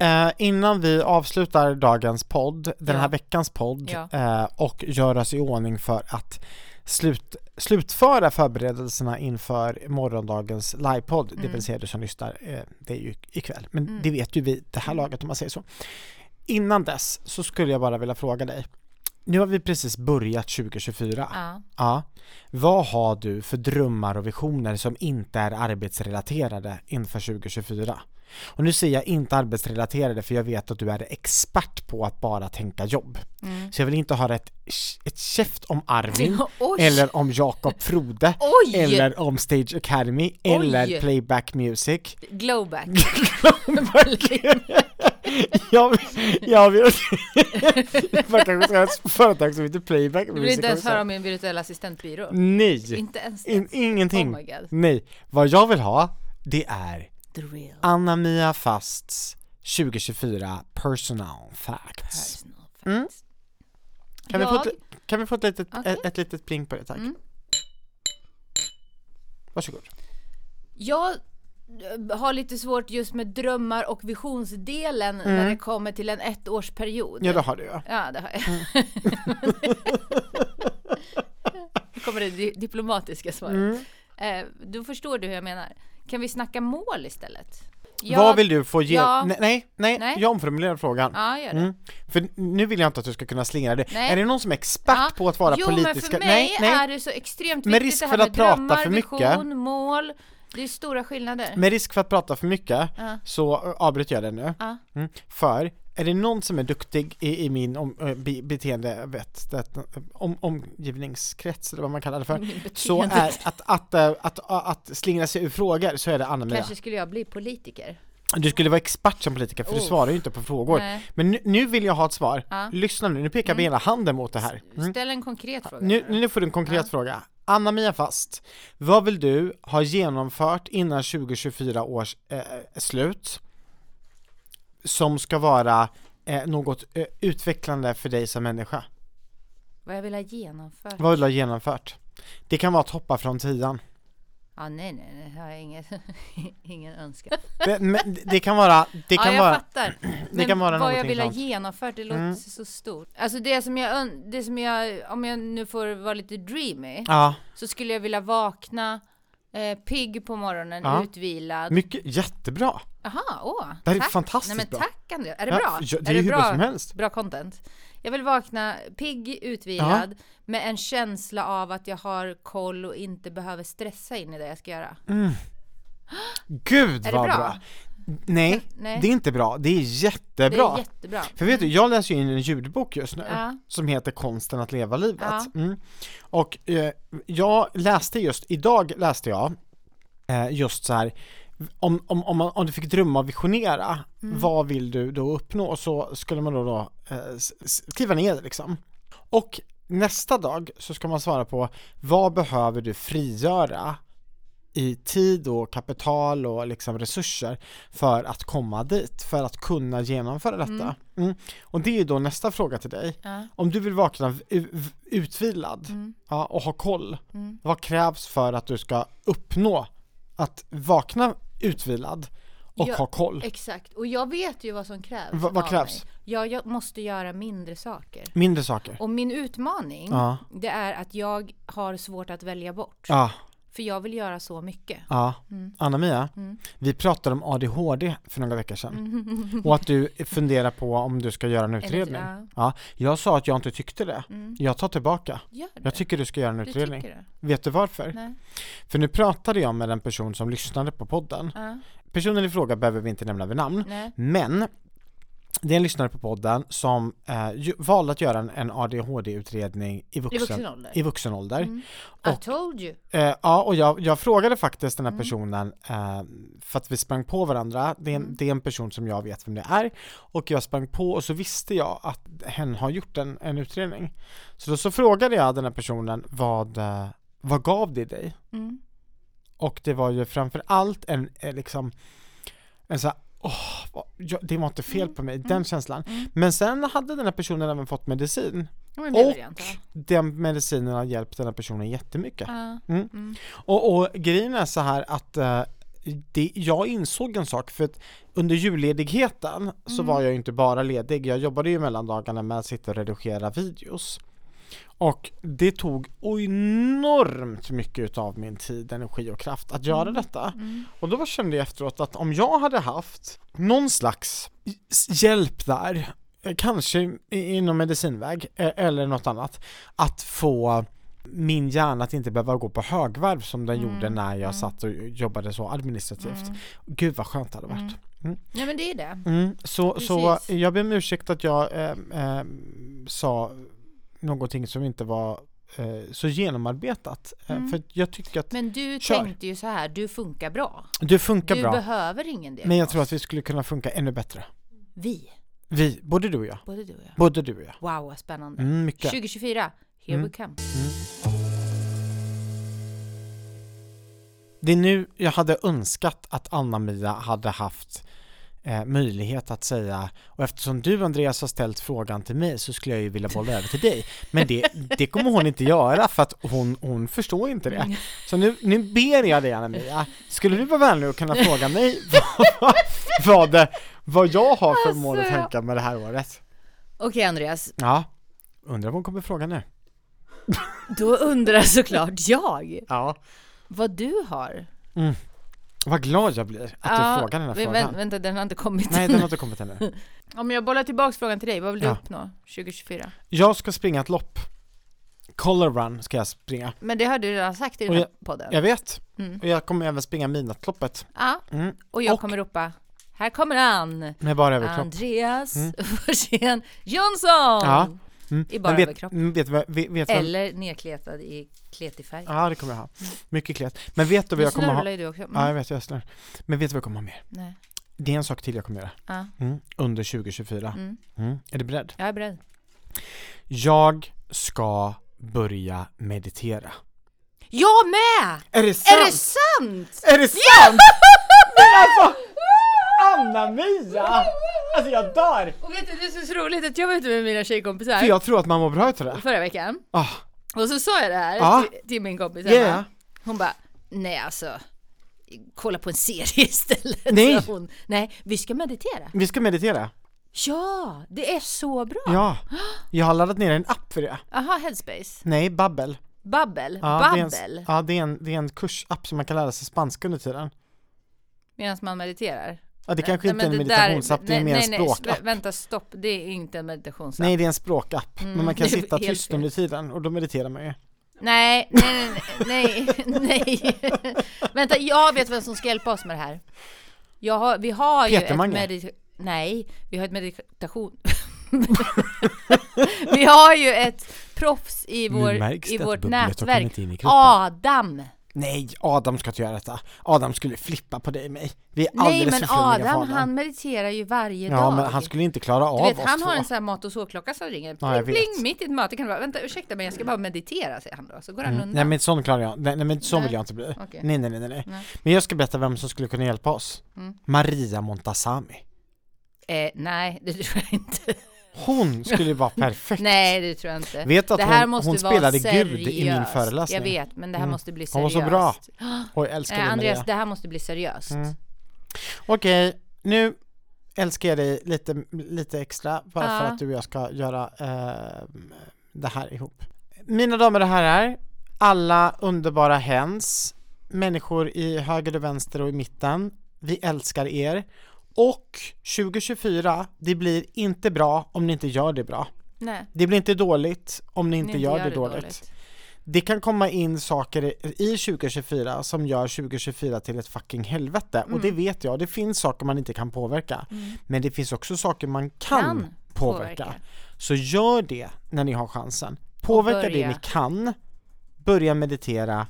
[SPEAKER 2] eh, innan vi avslutar dagens podd, den
[SPEAKER 1] Ja.
[SPEAKER 2] här veckans podd
[SPEAKER 1] Ja.
[SPEAKER 2] eh, och gör oss i ordning för att slut, slutföra förberedelserna inför morgondagens livepodd, det
[SPEAKER 1] Mm.
[SPEAKER 2] vill säga du som lyssnar, eh, det är ju ikväll, men
[SPEAKER 1] Mm.
[SPEAKER 2] det vet ju vi det här laget om man säger så. Innan dess så skulle jag bara vilja fråga dig, nu har vi precis börjat 2024.
[SPEAKER 1] Ja.
[SPEAKER 2] Ja. Vad har du för drömmar och visioner som inte är arbetsrelaterade inför 2024? Och nu säger jag inte arbetsrelaterade för jag vet att du är expert på att bara tänka jobb.
[SPEAKER 1] Mm.
[SPEAKER 2] Så jag vill inte höra ett, ett käft om Arvin,
[SPEAKER 1] Oj!
[SPEAKER 2] eller om Jakob Frode,
[SPEAKER 1] Oj!
[SPEAKER 2] eller om Stage Academy, eller Playback Music.
[SPEAKER 1] Glowback.
[SPEAKER 2] jag vill, jag vill, man kanske ska ha ett företag som heter Playback
[SPEAKER 1] Du vill
[SPEAKER 2] Music.
[SPEAKER 1] inte ens
[SPEAKER 2] också.
[SPEAKER 1] höra om min virtuella assistentbyrå?
[SPEAKER 2] Nej!
[SPEAKER 1] Inte ens det.
[SPEAKER 2] In, ingenting.
[SPEAKER 1] Oh my god.
[SPEAKER 2] Nej, vad jag vill ha det är
[SPEAKER 1] The real
[SPEAKER 2] Ah. Anna-Mia Fasts 2024 personal facts.
[SPEAKER 1] personal facts.
[SPEAKER 2] Mm. Kan, vi,
[SPEAKER 1] jag,
[SPEAKER 2] få ett, kan vi få ett litet,
[SPEAKER 1] Okej.
[SPEAKER 2] ett, ett litet pling på det tack?
[SPEAKER 1] Mm.
[SPEAKER 2] Varsågod.
[SPEAKER 1] jag eh, har lite svårt just med drömmar och visionsdelen när det kommer till en ettårsperiod.
[SPEAKER 2] Mm. Ja Mm. det har du ja.
[SPEAKER 1] Ja, det har jag. Nu kommer det di- diplomatiska svaret.
[SPEAKER 2] Mm.
[SPEAKER 1] Eh, då förstår du hur jag menar. Kan vi snacka mål istället? Jag-
[SPEAKER 2] Vad vill du få ge?
[SPEAKER 1] ja.
[SPEAKER 2] Nej, nej, nej,
[SPEAKER 1] Nej.
[SPEAKER 2] jag omformulerar frågan.
[SPEAKER 1] Ja, gör det.
[SPEAKER 2] Mm. För nu vill jag inte att du ska kunna slingra det.
[SPEAKER 1] Nej.
[SPEAKER 2] Är det någon som är expert
[SPEAKER 1] Ja.
[SPEAKER 2] på att vara
[SPEAKER 1] jo, men
[SPEAKER 2] politiska?
[SPEAKER 1] för mig
[SPEAKER 2] nej, nej.
[SPEAKER 1] är det så extremt
[SPEAKER 2] Med
[SPEAKER 1] viktigt
[SPEAKER 2] risk
[SPEAKER 1] det
[SPEAKER 2] för
[SPEAKER 1] här
[SPEAKER 2] att
[SPEAKER 1] med
[SPEAKER 2] prata
[SPEAKER 1] drömmar,
[SPEAKER 2] för mycket. Mm.
[SPEAKER 1] vision, mål. Det är stora skillnader.
[SPEAKER 2] Med risk för att prata för mycket
[SPEAKER 1] Ja.
[SPEAKER 2] så eh, avbryter jag det nu.
[SPEAKER 1] Ja.
[SPEAKER 2] Mm. För är det någon som är duktig i, i min om, eh, be, beteende, vet, det, om, omgivningskrets eller vad man kallar det för,
[SPEAKER 1] Min
[SPEAKER 2] så
[SPEAKER 1] beteende.
[SPEAKER 2] är att, att, eh, att, att, att slingra sig ur frågor så är det Anna-Mia.
[SPEAKER 1] Kanske skulle jag bli politiker.
[SPEAKER 2] Du skulle vara expert som politiker för du
[SPEAKER 1] Oh.
[SPEAKER 2] svarar ju inte på frågor.
[SPEAKER 1] Nej.
[SPEAKER 2] Men nu, nu vill jag ha ett svar.
[SPEAKER 1] Ja. Mm.
[SPEAKER 2] Lyssna nu, nu pekar vi hela handen mot det här. Mm.
[SPEAKER 1] Ställ en konkret fråga.
[SPEAKER 2] Nu, nu får du en konkret fråga. Anna-Mia Fast, vad vill du ha genomfört innan 2024 års eh, slut som ska vara eh, något eh, utvecklande för dig som människa?
[SPEAKER 1] Vad jag vill ha genomfört?
[SPEAKER 2] Vad vill du ha genomfört? Det kan vara att hoppa från tian.
[SPEAKER 1] Ja, nej, nej, nej, jag har ingen, ingen önskan.
[SPEAKER 2] Det, men, det kan vara, det
[SPEAKER 1] ja,
[SPEAKER 2] kan
[SPEAKER 1] jag
[SPEAKER 2] vara,
[SPEAKER 1] fattar.
[SPEAKER 2] det kan vara
[SPEAKER 1] vad jag
[SPEAKER 2] någonting
[SPEAKER 1] vill ha
[SPEAKER 2] sånt.
[SPEAKER 1] genomfört, det låter
[SPEAKER 2] Mm.
[SPEAKER 1] så stort. Alltså det som jag, ön- det som jag, om jag nu får vara lite dreamy,
[SPEAKER 2] ja,
[SPEAKER 1] så skulle jag vilja vakna eh, pigg på morgonen,
[SPEAKER 2] Ja.
[SPEAKER 1] utvilad.
[SPEAKER 2] mycket, jättebra.
[SPEAKER 1] Jaha, åh.
[SPEAKER 2] Det här är
[SPEAKER 1] tack.
[SPEAKER 2] fantastiskt
[SPEAKER 1] Nej men
[SPEAKER 2] bra.
[SPEAKER 1] tack Andreas, är det bra?
[SPEAKER 2] Ja, ja, det
[SPEAKER 1] är
[SPEAKER 2] är,
[SPEAKER 1] det
[SPEAKER 2] hur bra som
[SPEAKER 1] bra,
[SPEAKER 2] helst.
[SPEAKER 1] bra content? Jag vill vakna pigg, utvilad, med en känsla av att jag har koll och inte behöver stressa in i det jag ska göra.
[SPEAKER 2] Gud
[SPEAKER 1] Är det
[SPEAKER 2] vad bra.
[SPEAKER 1] bra?
[SPEAKER 2] Nej,
[SPEAKER 1] Nej.
[SPEAKER 2] det är inte bra. Det är jättebra.
[SPEAKER 1] Det är jättebra.
[SPEAKER 2] För vet du, jag läser ju in en ljudbok just nu
[SPEAKER 1] Ja.
[SPEAKER 2] som heter Konsten att leva livet.
[SPEAKER 1] Ja.
[SPEAKER 2] Mm. Och eh, jag läste just, idag läste jag eh, just så här om, om, om, man, om du fick drömma och visionera, vad vill du då uppnå? Och så skulle man då, då eh, s- s- skriva ner liksom. Och nästa dag så ska man svara på vad behöver du frigöra i tid och kapital och liksom resurser för att komma dit, för att kunna genomföra detta. Mm. Och det är ju då nästa fråga till dig.
[SPEAKER 1] Ja.
[SPEAKER 2] Om du vill vakna u- v- utvilad
[SPEAKER 1] Mm.
[SPEAKER 2] ja, och ha koll, vad krävs för att du ska uppnå att vakna utvilad och
[SPEAKER 1] Ja,
[SPEAKER 2] ha koll?
[SPEAKER 1] Exakt, och jag vet ju vad som krävs.
[SPEAKER 2] Va- vad
[SPEAKER 1] av
[SPEAKER 2] krävs?
[SPEAKER 1] mig. Jag, jag måste göra mindre saker.
[SPEAKER 2] Mindre saker.
[SPEAKER 1] Och min utmaning,
[SPEAKER 2] Ja,
[SPEAKER 1] det är att jag har svårt att välja bort.
[SPEAKER 2] ja,
[SPEAKER 1] För jag vill göra så mycket.
[SPEAKER 2] ja.
[SPEAKER 1] Mm.
[SPEAKER 2] Anna-Mia, vi pratade om ADHD för några veckor sedan och att du funderar på om du ska göra en utredning.
[SPEAKER 1] Mm. ja.
[SPEAKER 2] Ja, jag sa att jag inte tyckte det. Jag tar tillbaka.
[SPEAKER 1] Gör det.
[SPEAKER 2] Jag tycker du ska göra en
[SPEAKER 1] du
[SPEAKER 2] utredning.
[SPEAKER 1] tycker det?
[SPEAKER 2] Vet du varför?
[SPEAKER 1] Nej.
[SPEAKER 2] För nu pratade jag med en person som lyssnade på podden.
[SPEAKER 1] Ja.
[SPEAKER 2] Personen i fråga behöver vi inte nämna vid namn,
[SPEAKER 1] Nej.
[SPEAKER 2] men det är en lyssnare på podden som eh, ju, valde att göra en, en ADHD-utredning i
[SPEAKER 1] I
[SPEAKER 2] vuxen,
[SPEAKER 1] vuxen Mm. ålder?
[SPEAKER 2] i vuxen ålder.
[SPEAKER 1] I told you!
[SPEAKER 2] Eh, ja, och jag, jag frågade faktiskt den här
[SPEAKER 1] Mm.
[SPEAKER 2] personen eh, för att vi sprang på varandra. Det är,
[SPEAKER 1] Mm.
[SPEAKER 2] en, det är en person som jag vet vem det är och jag sprang på och så visste jag att hen har gjort en, en utredning. Så då så frågade jag den här personen vad, eh, vad gav det dig?
[SPEAKER 1] Mm.
[SPEAKER 2] Och det var ju framför allt en, en liksom en så här, åh, vad- ja, det var inte fel på mig, den känslan. Men sen hade den här personen även fått medicin
[SPEAKER 1] Ja, men det vill jag
[SPEAKER 2] och
[SPEAKER 1] inte ha.
[SPEAKER 2] den medicinen har hjälpt den här personen jättemycket.
[SPEAKER 1] Ja.
[SPEAKER 2] Mm. Och, och grejen är så här att eh, det, jag insåg en sak för att under julledigheten så var jag ju inte bara ledig, jag jobbade ju mellan dagarna med att sitta och redigera videos. Och det tog enormt mycket av min tid, energi och kraft att göra detta. Och då kände jag efteråt att om jag hade haft någon slags hjälp där, eh, kanske i- inom medicinväg eh, eller något annat, att få min hjärna att inte behöva gå på högvarv som den
[SPEAKER 1] Mm,
[SPEAKER 2] gjorde när jag
[SPEAKER 1] mm.
[SPEAKER 2] satt och jobbade så administrativt.
[SPEAKER 1] Mm.
[SPEAKER 2] Gud vad skönt det hade varit.
[SPEAKER 1] Mm. Nej men det är det.
[SPEAKER 2] Mm, så, så
[SPEAKER 1] Precis.
[SPEAKER 2] jag ber om ursäkt att jag eh, eh, sa någonting som inte var eh, så genomarbetat. Eh,
[SPEAKER 1] Mm.
[SPEAKER 2] för jag tycker att
[SPEAKER 1] Men du
[SPEAKER 2] Kör.
[SPEAKER 1] tänkte ju så här, du funkar bra.
[SPEAKER 2] du funkar
[SPEAKER 1] Du
[SPEAKER 2] bra,
[SPEAKER 1] behöver ingen diagnos.
[SPEAKER 2] men jag tror att vi skulle kunna funka ännu bättre.
[SPEAKER 1] Vi,
[SPEAKER 2] Vi, både du och jag.
[SPEAKER 1] både du och jag.
[SPEAKER 2] Både du och jag.
[SPEAKER 1] Wow, vad spännande.
[SPEAKER 2] Mm, mycket.
[SPEAKER 1] 2024, here
[SPEAKER 2] Mm.
[SPEAKER 1] we come.
[SPEAKER 2] Det är nu jag hade önskat att Anna-Mia hade haft eh, möjlighet att säga och eftersom du Andreas har ställt frågan till mig så skulle jag ju vilja bolla över till dig. Men det, det kommer hon inte göra för att hon, hon förstår inte det. Så nu, nu ber jag dig Anna-Mia, skulle du vara vänlig och kunna fråga mig vad, vad, det, vad jag har för mål och
[SPEAKER 1] Alltså, jag-
[SPEAKER 2] tankar med det här året?
[SPEAKER 1] Okej Andreas,
[SPEAKER 2] Ja, undrar vad hon kommer fråga nu.
[SPEAKER 1] då undrar såklart jag
[SPEAKER 2] Ja.
[SPEAKER 1] vad du har.
[SPEAKER 2] Vad glad jag blir att
[SPEAKER 1] Ja,
[SPEAKER 2] du frågar den här
[SPEAKER 1] men
[SPEAKER 2] frågan.
[SPEAKER 1] vänt- Vänta, den har inte kommit.
[SPEAKER 2] Nej, den har inte kommit ännu.
[SPEAKER 1] Om jag bollar tillbaks frågan till dig, vad vill du
[SPEAKER 2] Ja.
[SPEAKER 1] uppnå 2024?
[SPEAKER 2] Jag ska springa ett lopp. Color run ska jag springa.
[SPEAKER 1] Men det har du redan sagt i den
[SPEAKER 2] Och
[SPEAKER 1] här podden.
[SPEAKER 2] Jag vet.
[SPEAKER 1] Mm.
[SPEAKER 2] Och jag kommer även springa midnattsloppet.
[SPEAKER 1] Ja,
[SPEAKER 2] Mm.
[SPEAKER 1] och jag
[SPEAKER 2] Och-
[SPEAKER 1] kommer ropa, här kommer han!
[SPEAKER 2] Med bara överkropp.
[SPEAKER 1] Andreas
[SPEAKER 2] Mm.
[SPEAKER 1] Forsén Jönsson!
[SPEAKER 2] Ja. Mm.
[SPEAKER 1] I bara
[SPEAKER 2] Men vet,
[SPEAKER 1] överkropp.
[SPEAKER 2] mm, Vet, du vad- vet, vet Eller...
[SPEAKER 1] Eller nerkletad i kletig färg.
[SPEAKER 2] Ja, det kommer jag ha. Mycket klet. Men vet du vad
[SPEAKER 1] Nu
[SPEAKER 2] jag kommer
[SPEAKER 1] snurrar
[SPEAKER 2] ha?
[SPEAKER 1] ju du också. Mm.
[SPEAKER 2] Ja, jag vet, jag snurrar. Men vet du vad jag kommer ha mer?
[SPEAKER 1] Nej.
[SPEAKER 2] Det är en sak till jag kommer göra.
[SPEAKER 1] Ja.
[SPEAKER 2] Mm. Under 2024.
[SPEAKER 1] Mm.
[SPEAKER 2] Mm. Är du beredd?
[SPEAKER 1] Jag är beredd.
[SPEAKER 2] Jag ska börja meditera.
[SPEAKER 1] Jag med!
[SPEAKER 2] Är det
[SPEAKER 1] Är det sant?
[SPEAKER 2] Är det sant? Men alltså, Anna-Mia! Alltså jag dör!
[SPEAKER 1] Och vet du, det är så roligt att jag var ute med mina tjejkompisar
[SPEAKER 2] För jag tror att man mår bra utav det.
[SPEAKER 1] förra veckan.
[SPEAKER 2] Ah,
[SPEAKER 1] Och så sa jag det här
[SPEAKER 2] Ja.
[SPEAKER 1] till, till min kompis Emma.
[SPEAKER 2] yeah.
[SPEAKER 1] Hon bara, nej alltså, kolla på en serie istället.
[SPEAKER 2] Nej.
[SPEAKER 1] sa Hon, nej, vi ska meditera.
[SPEAKER 2] Vi ska meditera.
[SPEAKER 1] Ja, det är så bra.
[SPEAKER 2] Ja. Jag har laddat ner en app för det.
[SPEAKER 1] Aha, Headspace.
[SPEAKER 2] Nej, Babbel.
[SPEAKER 1] Babbel.
[SPEAKER 2] Ja, det är
[SPEAKER 1] Babbel.
[SPEAKER 2] en, ja, det är en, det är en kursapp som man kan lära sig spanska under tiden.
[SPEAKER 1] Medan man mediterar.
[SPEAKER 2] Ja, det
[SPEAKER 1] Nej,
[SPEAKER 2] kanske inte är
[SPEAKER 1] men
[SPEAKER 2] en
[SPEAKER 1] det där-
[SPEAKER 2] meditationsapp, det är
[SPEAKER 1] nej,
[SPEAKER 2] mer en
[SPEAKER 1] nej, nej,
[SPEAKER 2] språkapp.
[SPEAKER 1] vä- Vänta, stopp. Det är inte en meditationsapp.
[SPEAKER 2] Nej, det är en språkapp.
[SPEAKER 1] Mm,
[SPEAKER 2] Men man kan
[SPEAKER 1] det är
[SPEAKER 2] sitta
[SPEAKER 1] helt
[SPEAKER 2] tyst
[SPEAKER 1] fel.
[SPEAKER 2] under tiden och då mediterar man ju.
[SPEAKER 1] Nej, nej, nej, nej, nej. Vänta, jag vet vem som ska hjälpa oss med det här. Jag har, vi har ju
[SPEAKER 2] Peter
[SPEAKER 1] ett
[SPEAKER 2] Mange.
[SPEAKER 1] medit... Nej, vi har ett meditation... vi har ju ett proffs i, vår, i vårt nätverk. Ah!
[SPEAKER 2] in i
[SPEAKER 1] Adam!
[SPEAKER 2] Nej, Adam ska inte göra detta. Adam skulle flippa på dig och mig. Vi är
[SPEAKER 1] Nej
[SPEAKER 2] alldeles
[SPEAKER 1] men
[SPEAKER 2] för flummiga för
[SPEAKER 1] Adam,
[SPEAKER 2] honom.
[SPEAKER 1] han mediterar ju varje
[SPEAKER 2] Ja,
[SPEAKER 1] dag.
[SPEAKER 2] men han skulle inte klara av
[SPEAKER 1] du vet,
[SPEAKER 2] oss
[SPEAKER 1] han
[SPEAKER 2] två.
[SPEAKER 1] har en sån här mat och sovklocka som ringer.
[SPEAKER 2] Ja, jag
[SPEAKER 1] Pling,
[SPEAKER 2] vet.
[SPEAKER 1] pling, mitt i ett möte kan det vara. Vänta, ursäkta men jag ska bara meditera, säger han då. Så går han
[SPEAKER 2] Mm. Nej
[SPEAKER 1] undan.
[SPEAKER 2] men sån klarar jag, nej, nej men sån
[SPEAKER 1] Mm. Nej.
[SPEAKER 2] vill jag inte bli.
[SPEAKER 1] Okej.
[SPEAKER 2] Nej, nej nej nej, nej.
[SPEAKER 1] Nej.
[SPEAKER 2] Men jag ska berätta vem som skulle kunna hjälpa oss.
[SPEAKER 1] Mm.
[SPEAKER 2] Maria Montazami.
[SPEAKER 1] Eh, nej, det tror jag inte.
[SPEAKER 2] Hon skulle vara perfekt.
[SPEAKER 1] Nej, det tror jag inte.
[SPEAKER 2] Vet att
[SPEAKER 1] det här
[SPEAKER 2] hon,
[SPEAKER 1] måste
[SPEAKER 2] hon
[SPEAKER 1] vara
[SPEAKER 2] spelade
[SPEAKER 1] seriöst.
[SPEAKER 2] Gud i min föreläsning.
[SPEAKER 1] Jag vet, men det här
[SPEAKER 2] Mm.
[SPEAKER 1] måste bli seriöst.
[SPEAKER 2] Hon var så bra. Oj, jag älskar
[SPEAKER 1] Nej,
[SPEAKER 2] dig
[SPEAKER 1] Andreas,
[SPEAKER 2] Maria.
[SPEAKER 1] det här måste bli seriöst.
[SPEAKER 2] Mm. Okej, nu älskar jag dig lite, lite extra bara för
[SPEAKER 1] Ja.
[SPEAKER 2] att du och jag ska göra eh, det här ihop. Mina damer och herrar, alla underbara hens, människor i höger och vänster och i mitten. Vi älskar er. Och 2024, det blir inte bra om ni inte gör det bra.
[SPEAKER 1] Nej,
[SPEAKER 2] Det blir inte dåligt om ni inte,
[SPEAKER 1] ni
[SPEAKER 2] gör, det, dåligt. Det kan komma in saker i 2024 som gör 2024 till ett fucking helvete. Och
[SPEAKER 1] Mm.
[SPEAKER 2] det vet jag, det finns saker man inte kan påverka. Men det finns också saker man kan,
[SPEAKER 1] Kan
[SPEAKER 2] påverka.
[SPEAKER 1] påverka.
[SPEAKER 2] Så gör det när ni har chansen. Påverka det
[SPEAKER 1] börja.
[SPEAKER 2] ni kan. Börja meditera.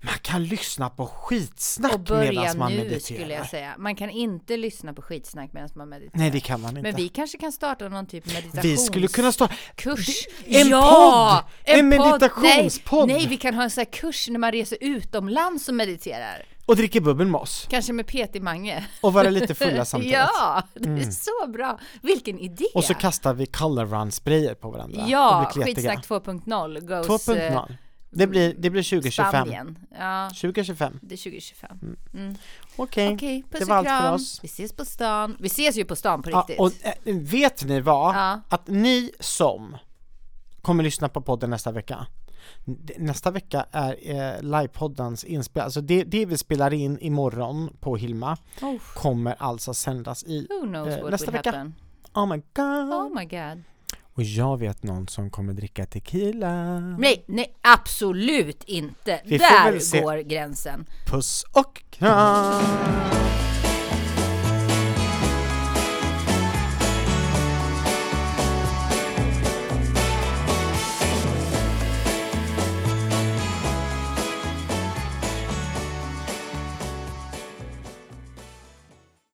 [SPEAKER 2] Man kan lyssna på skitsnack
[SPEAKER 1] Och börja
[SPEAKER 2] medan man
[SPEAKER 1] nu skulle
[SPEAKER 2] mediterar.
[SPEAKER 1] jag säga. Man kan inte lyssna på skitsnack medan man mediterar.
[SPEAKER 2] Nej det kan man inte.
[SPEAKER 1] Men vi kanske kan starta någon typ av
[SPEAKER 2] Vi skulle kunna stå...
[SPEAKER 1] meditationskurs.
[SPEAKER 2] en
[SPEAKER 1] ja!
[SPEAKER 2] podd! En
[SPEAKER 1] podd.
[SPEAKER 2] meditationspodd.
[SPEAKER 1] Nej, nej, vi kan ha en sån här kurs när man reser utomlands och mediterar.
[SPEAKER 2] och dricka bubbel med oss.
[SPEAKER 1] Kanske med PT Mange.
[SPEAKER 2] Och vara lite fulla samtidigt. Mm.
[SPEAKER 1] Ja, det är så bra. Vilken idé!
[SPEAKER 2] Och så kastar vi color run sprayer på varandra.
[SPEAKER 1] Ja,
[SPEAKER 2] och blir kletiga.
[SPEAKER 1] skitsnack 2.0 goes eh,
[SPEAKER 2] 2.0. Det blir, det blir 2025.
[SPEAKER 1] Spanien. Ja,
[SPEAKER 2] 2025.
[SPEAKER 1] det är 2025.
[SPEAKER 2] Okej.
[SPEAKER 1] Okej, puss
[SPEAKER 2] Det
[SPEAKER 1] och
[SPEAKER 2] var
[SPEAKER 1] kram.
[SPEAKER 2] allt för oss.
[SPEAKER 1] Vi ses på stan. Vi ses ju på stan på
[SPEAKER 2] Ja, eh,
[SPEAKER 1] riktigt.
[SPEAKER 2] och äh, vet ni vad?
[SPEAKER 1] Ja.
[SPEAKER 2] Att ni som kommer lyssna på podden nästa vecka. N- Nästa vecka är eh, livepoddens inspel, alltså det, det vi spelar in imorgon på Hilma
[SPEAKER 1] Oh,
[SPEAKER 2] kommer alltså sändas i
[SPEAKER 1] who knows
[SPEAKER 2] Eh,
[SPEAKER 1] what
[SPEAKER 2] nästa
[SPEAKER 1] will
[SPEAKER 2] vecka.
[SPEAKER 1] happen?
[SPEAKER 2] Oh my god!
[SPEAKER 1] Oh my god.
[SPEAKER 2] Och jag vet någon som kommer dricka tequila.
[SPEAKER 1] Nej, nej, absolut inte.
[SPEAKER 2] Vi får väl
[SPEAKER 1] Där
[SPEAKER 2] se.
[SPEAKER 1] går gränsen.
[SPEAKER 2] Puss och kram!